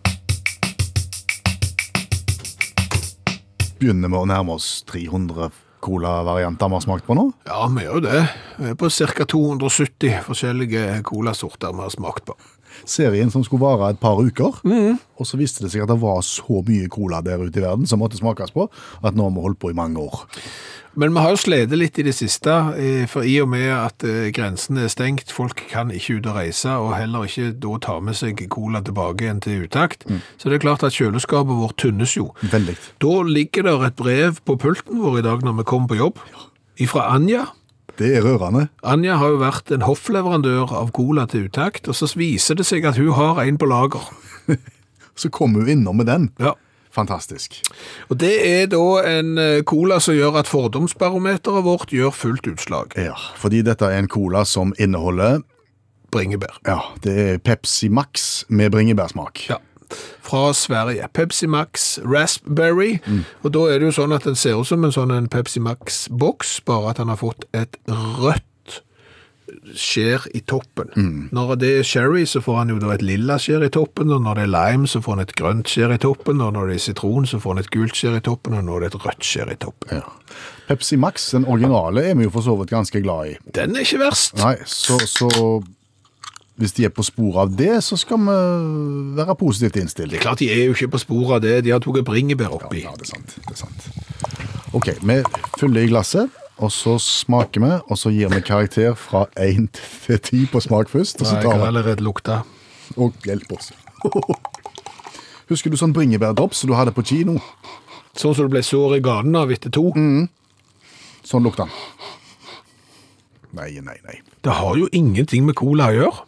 C: Begynner med å nærme oss 300 colavarianter vi har smakt på nå.
B: Ja, vi gjør jo det. Vi er på ca. 270 forskjellige colasorter vi har smakt på.
C: serien som skulle vare et par uker. Og så viste det seg at det var så mye cola der ute i verden som måtte smakes på, at nå har vi holdt på i mange år.
B: Men vi har jo slitt litt i det siste, eh, for i og med at eh, grensen er stengt, folk kan ikke ut og reise, og heller ikke da ta med seg cola tilbake igjen til utakt, så det er klart at kjøleskapet vårt tynnes jo.
C: Veldig.
B: Da ligger der et brev på pulten vår i dag når vi kommer på jobb, ifra Anja.
C: Det er rørende.
B: Anja har jo vært en hoffleverandør av cola til utakt, og så viser det seg at hun har en på lager.
C: Så kom hun innom med den.
B: Ja.
C: Fantastisk.
B: Og det er da en eh, cola som gjør at fordomsbarometeret vårt gjør fullt utslag.
C: Ja, fordi dette er en cola som inneholder
B: Bringebær.
C: ja, det er Pepsi Max med bringebærsmak.
B: Ja. Fra Sverige. Pepsi Max Raspberry.
C: Mm.
B: Og da er det jo sånn at den ser ut som en sånn en Pepsi Max-boks, bare at han har fått et rødt skjer i toppen.
C: Mm.
B: Når det er sherry, så får han jo da et lilla skjær i toppen, og når det er lime, så får han et grønt skjær i toppen, og når det er sitron, så får han et gult skjær i toppen, og når det er et rødt skjær i toppen.
C: Pepsi Max, den originale, er vi jo for så vidt ganske glad i.
B: Den er ikke verst.
C: Nei, så, så hvis de er på sporet av det, så skal vi være positivt innstilt.
B: Det er klart de er jo ikke på sporet av det, de har tatt bringebær oppi.
C: Ja, det er sant. Det er sant. OK, vi fyller i glasset, og så smaker vi, og så gir vi karakter fra 1 til 10 på smak først, og så
B: Nei, jeg har
C: tar vi
B: allerede lukta.
C: og hjelper oss. Husker du sånn bringebærdrops som du hadde på kino?
B: Sånn som det ble sår i ganen av etter to.
C: Sånn lukter den. Nei, nei, nei.
B: Det har jo ingenting med cola å gjøre.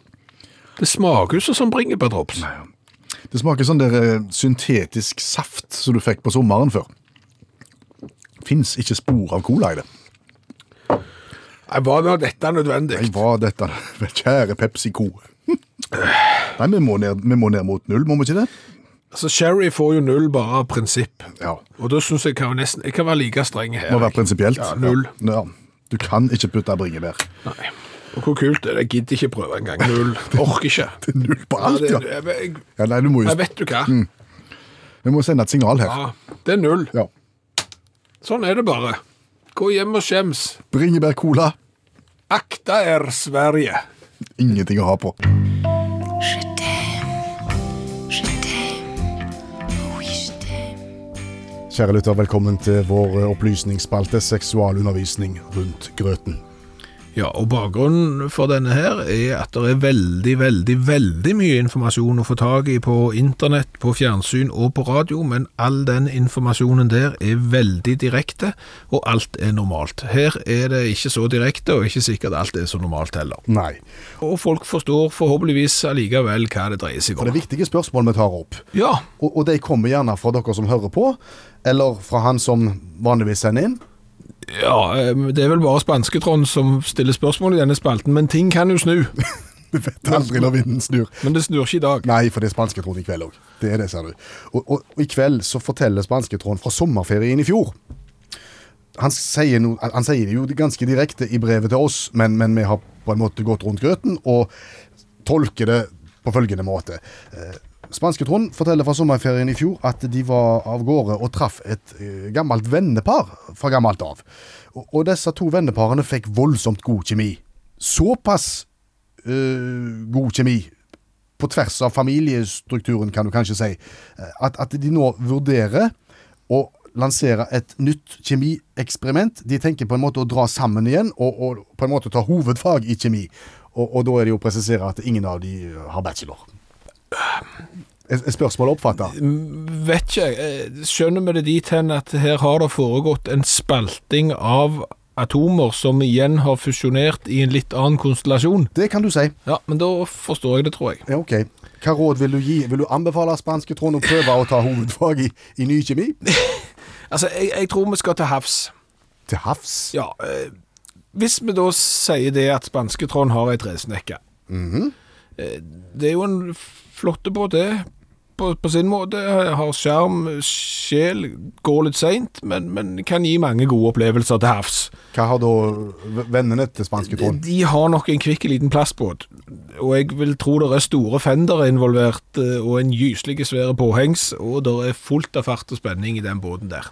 B: Det smaker jo sånn som bringebærdrops.
C: Det smaker sånn der eh, syntetisk saft som du fikk på sommeren før. Fins ikke spor av cola i det.
B: Nei, Var nå dette nødvendig?
C: Nei, hva er dette? Kjære PepsiCo. Nei, vi må, ned, vi må ned mot null, må vi ikke det?
B: Altså, Sherry får jo null bare av prinsipp.
C: Ja.
B: Og da syns jeg kan jo nesten Jeg kan være like streng her.
C: Må være prinsipielt.
B: Ja, null.
C: Ja. Du kan ikke putte bringebær.
B: Nei. Og hvor kult er det? Jeg gidder ikke prøve engang. Null. Orker ikke.
C: Det er null på alt,
B: ja.
C: ja. Mm.
B: det- Jeg, jeg,
C: ja nei, du må jo,
B: jeg vet du hva.
C: vi må sende et signal her.
B: Ja, det er null.
C: Ja.
B: Sånn er det bare. Gå hjem og skjems.
C: Bringebær-cola,
B: Akta er Sverige.
C: ingenting å ha på.
G: Je t'aime, je t'aime, oui je t'aime.
C: Kjære lytter, velkommen til vår eh, opplysningsspalte seksualundervisning rundt grøten.
B: Ja, og bakgrunnen for denne her er at det er veldig, veldig, veldig mye informasjon å få tak i på internett, på fjernsyn og på radio, men all den informasjonen der er veldig direkte, og alt er normalt. Her er det ikke så direkte, og ikke sikkert alt er så normalt heller.
C: Nei,
B: Og folk forstår forhåpentligvis allikevel hva det dreier seg
C: for
B: om.
C: det er viktige spørsmål vi tar opp.
B: Ja,
C: Og, og de kommer gjerne fra dere som hører på, eller fra han som vanligvis sender inn.
B: ja, eh, det er vel bare Spansketron som stiller spørsmål i denne spalten, men ting kan jo snu.
C: Du vet aldri når vinden snur.
B: Men det snur ikke i dag.
C: Nei, for det er spansketråden i kveld òg. Det er det, ser du. Og, og, og i kveld så forteller spansketråden fra sommerferien i fjor. Han sier, no, han sier det jo ganske direkte i brevet til oss, men, men vi har på en måte gått rundt grøten og tolker det på følgende måte. Eh, Spansketråden forteller fra sommerferien i fjor at de var av gårde og traff et eh, gammelt vennepar fra gammelt av. Og, og disse to venneparene fikk voldsomt god kjemi. Såpass eh, god kjemi på tvers av familiestrukturen, kan du kanskje si, eh, at, at de nå vurderer å lansere et nytt kjemieksperiment. De tenker på en måte å dra sammen igjen og, og på en måte ta hovedfag i kjemi. Og, og da er det jo å presisere at ingen av de eh, har bachelor. Er er spørsmålet oppfatta?
B: Vet ikke, eh, skjønner vi det dit hen at her har det foregått en spalting av atomer som igjen har fusjonert i en litt annen konstellasjon?
C: Det kan du si.
B: Ja, men da forstår jeg det, tror jeg.
C: Ja, ok. Hva råd vil du gi? Vil du anbefale spanske Trond å prøve å ta hovedfag i, i ny kjemi?
B: Altså, jeg, jeg tror vi skal til havs.
C: Til havs?
B: Ja, eh, hvis vi da sier det at spansketråden har ei tresnekke Eh, Det er jo en flotte båt, det. På, på sin måte. Har skjerm, sjel, går litt seint, men, men kan gi mange gode opplevelser til havs.
C: Hva har da v- vennene til spanske Trond?
B: De har nok en kvikk liten plastbåt, og jeg vil tro det er store fendere involvert, eh, og en gyselig svære påhengs, og det er fullt av fart og spenning i den båten der.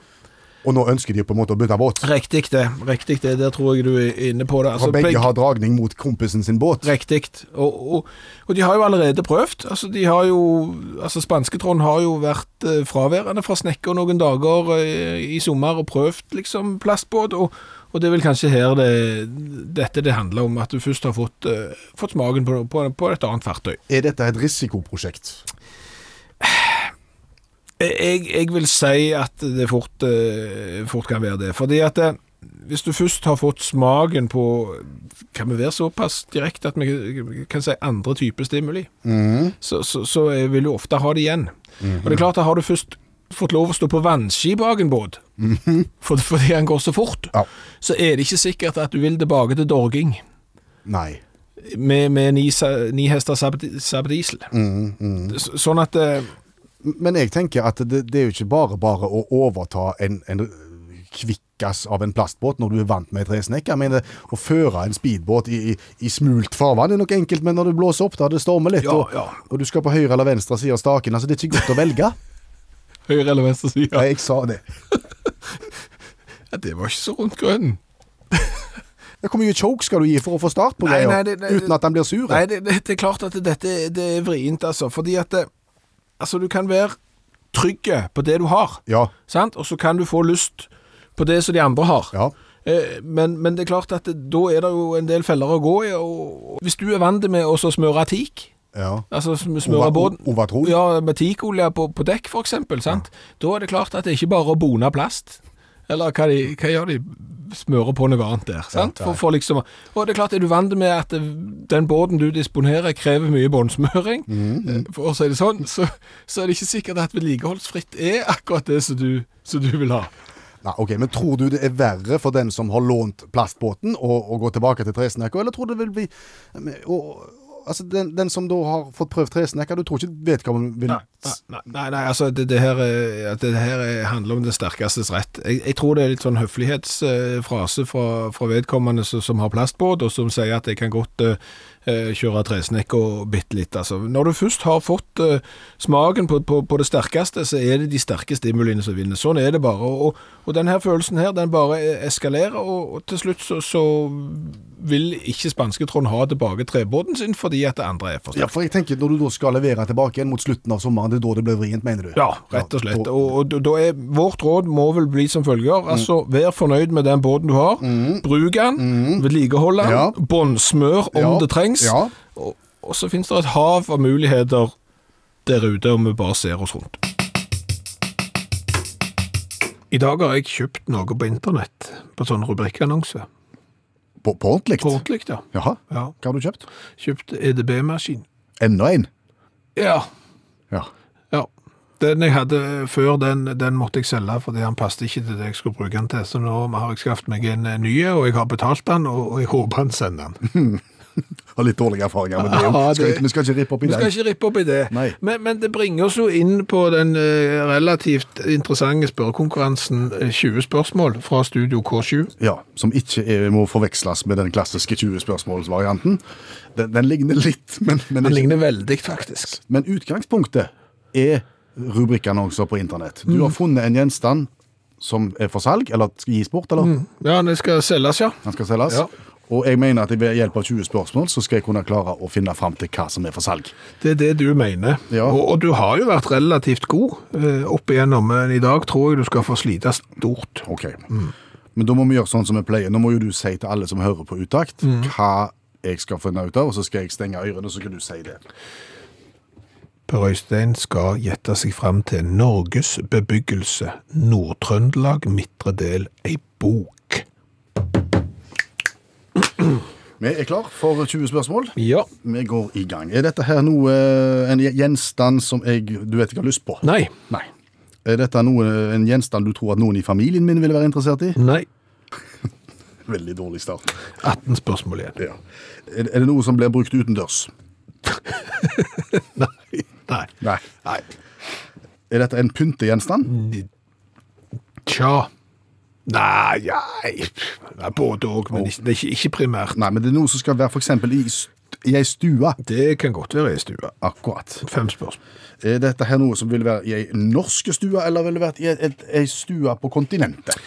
C: Og nå ønsker de på en måte å bytte båt?
B: Riktig det, riktig det, der tror jeg du er inne på det.
C: For
B: Altså,
C: begge
B: begge-
C: har dragning mot kompisen sin båt.
B: Riktig. Og, og, og de har jo allerede prøvd. Altså, de har jo, altså Spansketråden har jo vært eh, fraværende fra snekker noen dager eh, i sommer og prøvd liksom plastbåt. Og, og det er vel kanskje her det, dette det handler om, at du først har fått, eh, fått smaken på, på, på et annet fartøy.
C: Er dette et risikoprosjekt?
B: Jeg, jeg vil si at det fort, eh, fort kan være det. Fordi at eh, hvis du først har fått smaken på Kan vi være såpass direkte at vi kan si andre typer stimuli? Så, så, så eh, vil du ofte ha det igjen.
C: Mhm.
B: Og det er klart, da har du først fått lov å stå på vannski bak en båt for, fordi han går så fort,
C: Mhm. Ja.
B: så er det ikke sikkert at du vil tilbake til dorging
C: Nei.
B: med, med ni, sa- ni hester sabd- sabdiesel.
C: Mhm,
B: Så- Sånn at eh,
C: Men jeg tenker at det, det er jo ikke bare bare å overta en, en kvikk snekkes av en plastbåt når du er vant med ei tresnekk. Jeg mener, å føre en speedbåt i, i, i smult farvann er nok enkelt, men når det blåser opp, da det stormer litt,
B: Ja,
C: og,
B: ja.
C: og du skal på høyre eller venstre side av staken, altså det er ikke godt å velge.
B: Høyre eller venstre side?
C: Nei, jeg sa det.
B: Ja, det var ikke så rundt grønnen.
C: Ja, Hvor mye choke skal du gi for å få start på
B: Nei,
C: greia,
B: nei, det- det-
C: uten at han blir sur?
B: Nei, det, det, det er klart at dette det er vrient, altså. Fordi at eh, altså, du kan være trygg på det du har,
C: Ja,
B: sant? og så kan du få lyst på det som de andre har.
C: ja.
B: Eh, Men, men det er klart at det, da er det jo en del feller å gå i. Og og hvis du er vant med å så smøre teak,
C: ja.
B: altså sm- smøre båten
C: Overtro?
B: Ja, med teakolje på, på dekk, for eksempel. Sant? Da er det klart at det er ikke bare å bone plast. Eller hva, de, hva gjør de? Smører på noe annet der. Sant? for, for liksom, og det er klart, er du vant med at eh, den båten du disponerer, krever mye båndsmøring, eh, for å si det sånn, så, så er det ikke sikkert at vedlikeholdsfritt er akkurat det som du, som du vil ha.
C: Nei, ok, Men tror du det er verre for den som har lånt plastbåten å, å gå tilbake til tresnekka, eller tror du det vil bli eh, og, Altså, den, den som da har fått prøvd tresnekka, du tror ikke vedkommende vil
B: Nei, nei, nei altså det, det her, er- at det her er- handler om den sterkestes rett. Jeg, jeg tror det er litt sånn høflighetsfrase fra, fra vedkommende som, som har plastbåt, og som sier at jeg kan godt eh, eh, kjøre tresnekk og bitte litt. Altså. Når du først har fått eh, smaken på, på, på det sterkeste, så er det de sterke stimuliene som vinner. Sånn er det bare. Og, og, og denne følelsen her, den bare eh, eskalerer, og, og til slutt så, så vil ikke spanske Trond ha tilbake trebåten sin fordi at det andre er for sterkt.
C: Ja, for jeg tenker Når du da skal levere tilbake igjen mot slutten av sommeren, det er da det blir vrient, mener du?
B: Ja, rett og slett.
C: da-
B: Og, og da- da er, vårt råd må vel bli som følger. Altså, vær fornøyd med den båten du har. Bruk den, vedlikehold den,
C: Ja.
B: båndsmør om
C: Ja,
B: det trengs.
C: ja.
B: Og, og så finnes det et hav av muligheter der ute, om vi bare ser oss rundt. I dag har jeg kjøpt noe på internett, på sånn rubrikkannonse.
C: På, på ordentlig?
B: På ordentlig, ja.
C: Jaha.
B: Ja.
C: Hva har du kjøpt?
B: Kjøpt E EDB-maskin.
C: Enda en?
B: Ja,
C: Ja.
B: Ja. Den jeg hadde før, den, den måtte jeg selge, fordi han passet ikke til det jeg skulle bruke den til. Så nå har jeg skaffet meg en eh, ny, og jeg har betalt den, og og jeg håper han sender den.
C: Har litt dårlige erfaringer med det. jo.
B: Ja, det-
C: Skal ikke- Vi skal ikke rippe opp i
B: Vi skal
C: den.
B: ikke rippe opp i det.
C: Nei.
B: Men, men det bringer oss jo inn på den eh, relativt interessante spørrekonkurransen eh, 20 spørsmål fra Studio K7.
C: Ja, Som ikke er, må forveksles med den klassiske 20-spørsmålsvarianten. Den, den ligner litt, men, men
B: Den
C: ikke
B: ligner veldig, faktisk.
C: Men utgangspunktet er rubrikkannonser på internett. Du
B: Mm.
C: har funnet en gjenstand som er for salg, eller skal gis bort, eller
B: Ja, den skal selges, ja.
C: den skal selges.
B: Mm. Ja.
C: Og jeg mener at jeg ved hjelp av 20 spørsmål så skal jeg kunne klare å finne fram til hva som er for salg.
B: Det er det du mener.
C: Ja.
B: Og, og du har jo vært relativt god eh, opp igjennom, men i dag tror jeg du skal få slite stort.
C: Ok.
B: Mm.
C: Men da må vi gjøre sånn som vi pleier. Nå må jo du si til alle som hører på utakt,
B: Mm.
C: hva jeg skal finne ut av, og så skal jeg stenge ørene, så skal du si det.
B: Per Øystein skal gjette seg fram til Norges bebyggelse, Nord-Trøndelag, midtre del, ei bok.
C: Vi er klar for 20 spørsmål.
B: Ja.
C: Vi går i gang. Er dette her noe, eh, en gjenstand som jeg, du vet jeg har lyst på?
B: Nei.
C: Nei. Er dette noe, en gjenstand du tror at noen i familien min ville være interessert i?
B: Nei.
C: Veldig dårlig start.
B: 18 spørsmål igjen.
C: Ja. Er, er det noe som blir brukt utendørs?
B: Nei.
C: Nei. Mm. Er dette en pyntegjenstand?
B: Tja. Nei, ja Nei, Både òg, men ikke, det er ikke, ikke primært.
C: Nei, men det er noe som skal være for eksempel i, st- i ei stue.
B: Det kan godt være ei stue.
C: Akkurat.
B: Fem spørsmål.
C: Er dette her noe som vil være i ei norske stue, eller vil det være i et- et- ei stue på kontinentet?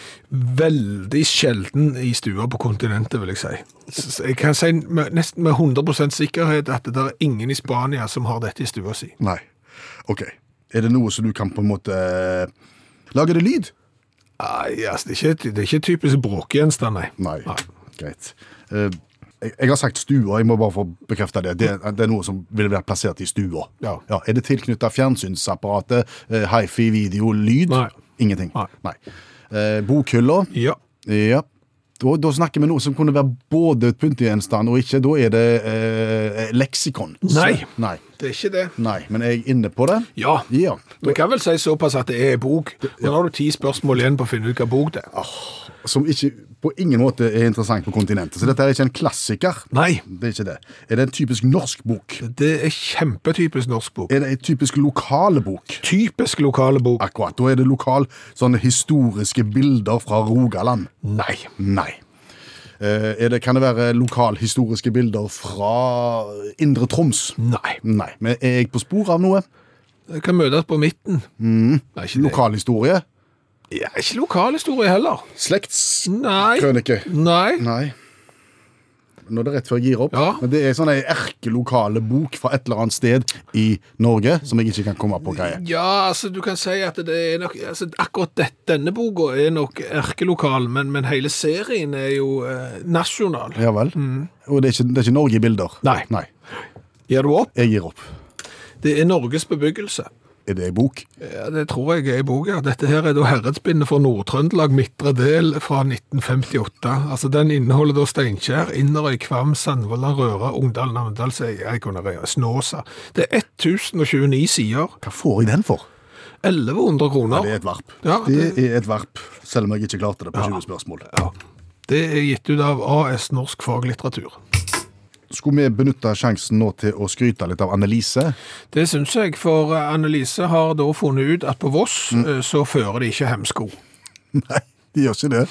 B: Veldig sjelden i stua på kontinentet, vil jeg si. S- Jeg kan si med, nesten med 100 sikkerhet at det er ingen i Spania som har dette i stua si.
C: Nei. Ok. Er det noe som du kan på en måte Lager det lyd?
B: Nei, altså, det er ikke, det er ikke typisk bråkgjenstand, nei.
C: Nei. Greit. Eh, jeg, jeg har sagt stua, jeg må bare få bekrefta det. det. Det er noe som ville vært plassert i stua.
B: Ja.
C: er det tilknytta fjernsynsapparatet, eh, hifi, video, lyd?
B: Nei.
C: Ingenting.
B: Nei.
C: Eh, bokhylla?
B: Ja.
C: Ja. Da, da snakker vi noe som kunne være både et pyntegjenstand og ikke. Da er det eh, leksikon.
B: Nei.
C: Nei.
B: Det er ikke det.
C: Nei. Men er jeg inne på det?
B: Ja.
C: Ja.
B: Vi kan vel si såpass at det er ei bok. Og nå har du ti spørsmål igjen på å finne ut hva bok det er.
C: som ikke på ingen måte er interessant på kontinentet. Så dette er ikke en klassiker.
B: Nei.
C: Det er ikke det. Er det en typisk norsk bok?
B: Det er kjempetypisk norsk bok.
C: Er det en typisk lokale bok?
B: Typisk lokale bok.
C: Akkurat. Da er det lokal sånne historiske bilder fra Rogaland.
B: Nei.
C: Nei. Eh, er det, kan det være lokalhistoriske bilder fra Indre Troms?
B: Nei.
C: Nei. Men er jeg på spor av noe?
B: Det kan møtes på midten. Nei, ikke det.
C: Lokalhistorie?
B: Ja, ikke lokalhistorie heller.
C: Slektskrønike?
B: Nei. Nei.
C: Nei. Nå er det rett før jeg gir opp.
B: Ja.
C: Men det er sånn ei erkelokale bok fra et eller annet sted i Norge som jeg ikke kan komme på hva er.
B: Ja, altså du kan si at det er nok altså, Akkurat dette, denne boka er nok erkelokal, men, men hele serien er jo eh, nasjonal.
C: Ja vel. Og det er, ikke, det er ikke Norge i bilder.
B: Mm. Nei.
C: Nei.
B: Gir du opp?
C: Jeg gir opp.
B: Det er Norges bebyggelse.
C: Er det ei bok?
B: Ja, Det tror jeg er i boka. Dette her er da herredsbindet for Nord-Trøndelag, midtre del, fra 1958. Altså, Den inneholder da Steinkjer, Inderøy, Kvam, Sandvollan, Røra, Ungdal, Namdal, Eikonarøya, Snåsa. Det er 1029 sider.
C: Hva får jeg den for?
B: 1100 kroner.
C: Det er et varp.
B: Ja,
C: det...
B: det-
C: er et varp, selv om jeg ikke klarte det på 20 spørsmål.
B: Det er gitt ut av AS Norsk Faglitteratur.
C: Skulle vi benytte sjansen nå til å skryte litt av Annelise?
B: Det syns jeg, for Annelise har da funnet ut at på Voss eh, så fører de ikke hemsko.
C: Nei, de gjør ikke det.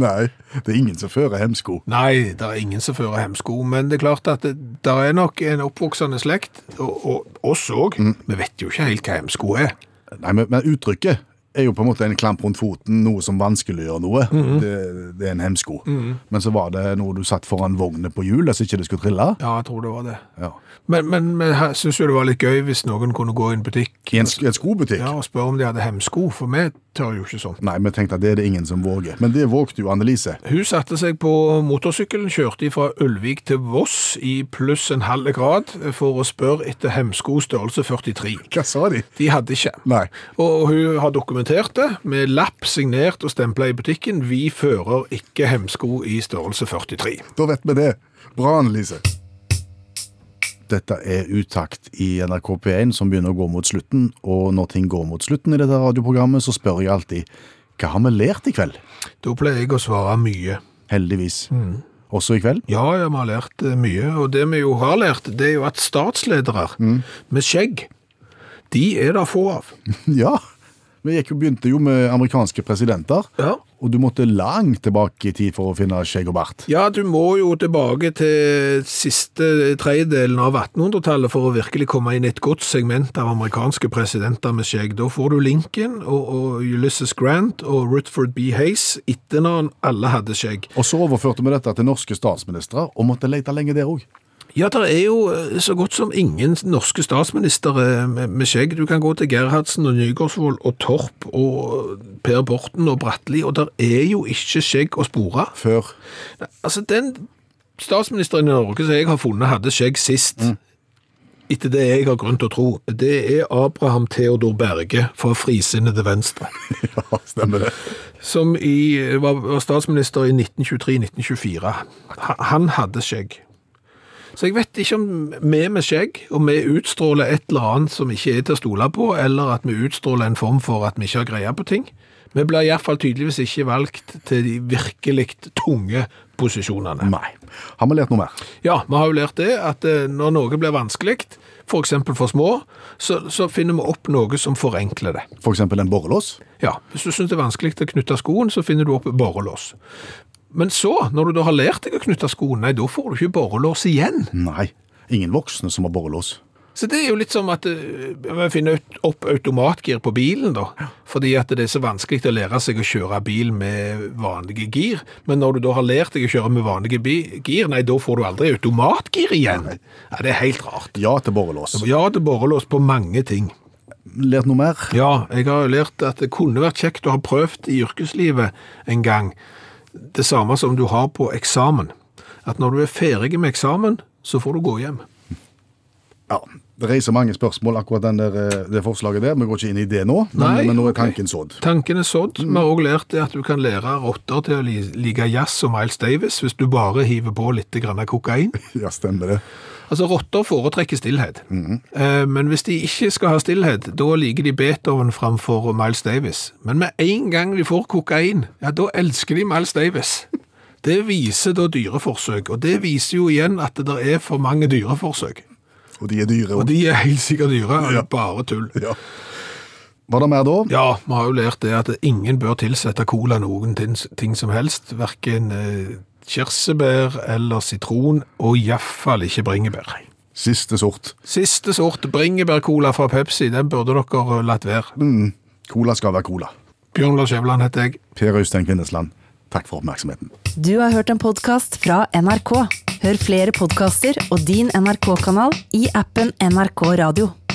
B: Nei.
C: Det er ingen som fører hemsko.
B: Nei, det er ingen som fører hemsko, men det er klart at det der er nok en oppvoksende slekt, og, og oss òg. Vi vet jo ikke helt hva hemsko er.
C: Nei, men, men uttrykket er jo på en måte en klamp rundt foten, noe som vanskeliggjør noe.
B: Mhm.
C: det, det er en hemsko. Men så var det noe du satt foran vognet på hjulet så ikke det skulle trille.
B: Ja, jeg tror det var det.
C: Ja.
B: Men, men, men jeg syns jo det var litt gøy hvis noen kunne gå i en butikk
C: I en, sk- en skobutikk.
B: ja, og spørre om de hadde hemsko, for vi tør jo ikke sånn. sånt.
C: Nei, vi tenkte at det er det ingen som våger. Men det vågte jo Annelise.
B: Hun satte seg på motorsykkelen, kjørte fra Ulvik til Voss i pluss en halv grad for å spørre etter hemsko størrelse 43.
C: Hva sa de?
B: De hadde ikke.
C: Nei.
B: Og hun har dokumentert det med lapp signert og stempla i butikken. Vi fører ikke hemsko i størrelse 43.
C: Da vet vi det. Bra, Annelise. Dette er Utakt i NRK P1 som begynner å gå mot slutten. Og når ting går mot slutten i dette radioprogrammet, så spør jeg alltid hva har vi lært i kveld?
B: Da pleier jeg å svare mye.
C: Heldigvis. Også i kveld.
B: Ja, ja, vi har lært eh, mye. Og det vi jo har lært, det er jo at statsledere med skjegg, de er det få av.
C: Ja. Vi gikk jo, begynte jo med amerikanske presidenter.
B: Ja.
C: Og du måtte langt tilbake i tid for å finne skjegg og bart.
B: Ja, du må jo tilbake til siste tredjedelen av 1800-tallet for å virkelig komme inn i et godt segment av amerikanske presidenter med skjegg. Da får du Lincoln og, og Ulysses Grant og Rutherford B. Hayes etter når alle hadde skjegg.
C: Og så overførte vi dette til norske statsministre, og måtte lete lenge der òg.
B: Ja, det er jo eh, så godt som ingen norske statsminister eh, med, med skjegg. Du kan gå til Gerhardsen og Nygaardsvold og Torp og Per Borten og Bratteli, og der er jo ikke skjegg å spore.
C: Før
B: Altså, den statsministeren i Norge som jeg har funnet hadde skjegg sist, etter det jeg har grunn til å tro, det er Abraham Theodor Berge fra Frisinnede Venstre,
C: Ja, stemmer det.
B: som i, var, var statsminister i 1923-1924. Ha- Han hadde skjegg. Så jeg vet ikke om vi med skjegg, og vi utstråler et eller annet som ikke er til å stole på, eller at vi utstråler en form for at vi ikke har greie på ting. Vi blir i hvert fall tydeligvis ikke valgt til de virkelig tunge posisjonene.
C: Nei. Har vi lært noe mer?
B: Ja, vi har jo lært det at eh, når noe blir vanskelig, for eksempel for små, så, så finner vi opp noe som forenkler det.
C: For eksempel en borrelås?
B: Ja, hvis du synes det er vanskelig å knytte skoen, så finner du opp borrelås. Men så, når du da har lært deg å knytte skoen, nei, da får du ikke borrelås igjen.
C: Nei. Ingen voksne som har borrelås.
B: Så det er jo litt som at eh, vi finner ut- opp automatgir på bilen da, fordi at det er så vanskelig å lære seg å kjøre bil med vanlige gir, men når du da har lært deg å kjøre med vanlige bi- gir, nei, da får du aldri automatgir igjen. Ja, det er helt rart.
C: Ja til borrelås.
B: Ja, det borrelås på mange ting.
C: Lært noe mer?
B: Ja, jeg har jo lært at det kunne vært kjekt å ha prøvd i yrkeslivet en gang det samme som du har på eksamen. At når du er ferdig med eksamen, så får du gå hjem.
C: Ja. Det reiser mange spørsmål, akkurat den der, eh, det forslaget der. Vi går ikke inn i det nå, men,
B: Nei,
C: men nå er
B: ok.
C: tanken sådd.
B: Tanken er sådd. Vi har også lært det at du kan lære rotter til å li- like jazz og Miles Davis hvis du bare hiver på litt grann kokain.
C: Ja, stemmer det.
B: Altså, rotter foretrekker stillhet. Eh, Men hvis de ikke skal ha stillhet, da liker de Beethoven framfor Miles Davis. Men med en gang de får kokain, ja, da elsker de Miles Davis. Det viser da dyreforsøk, og det viser jo igjen at det er for mange dyreforsøk.
C: Og de er dyre.
B: Og
C: Og
B: de er helt sikkert dyre, og det er bare tull.
C: ja. Var det mer da?
B: Ja, vi har jo lært det at ingen bør tilsette cola noen ting, ting som helst, hverken eh, kirsebær eller sitron, og i hvert fall ikke bringebær.
C: Siste sort.
B: Siste sort bringebær-cola fra Pepsi, den burde dere latt være.
C: Cola skal være cola.
B: Bjørn Lars Skjæveland heter jeg.
C: Per Øystein Kvindesland, takk for oppmerksomheten.
A: Du har hørt en podkast fra NRK. Hør flere podkaster og din NRK-kanal i appen NRK Radio.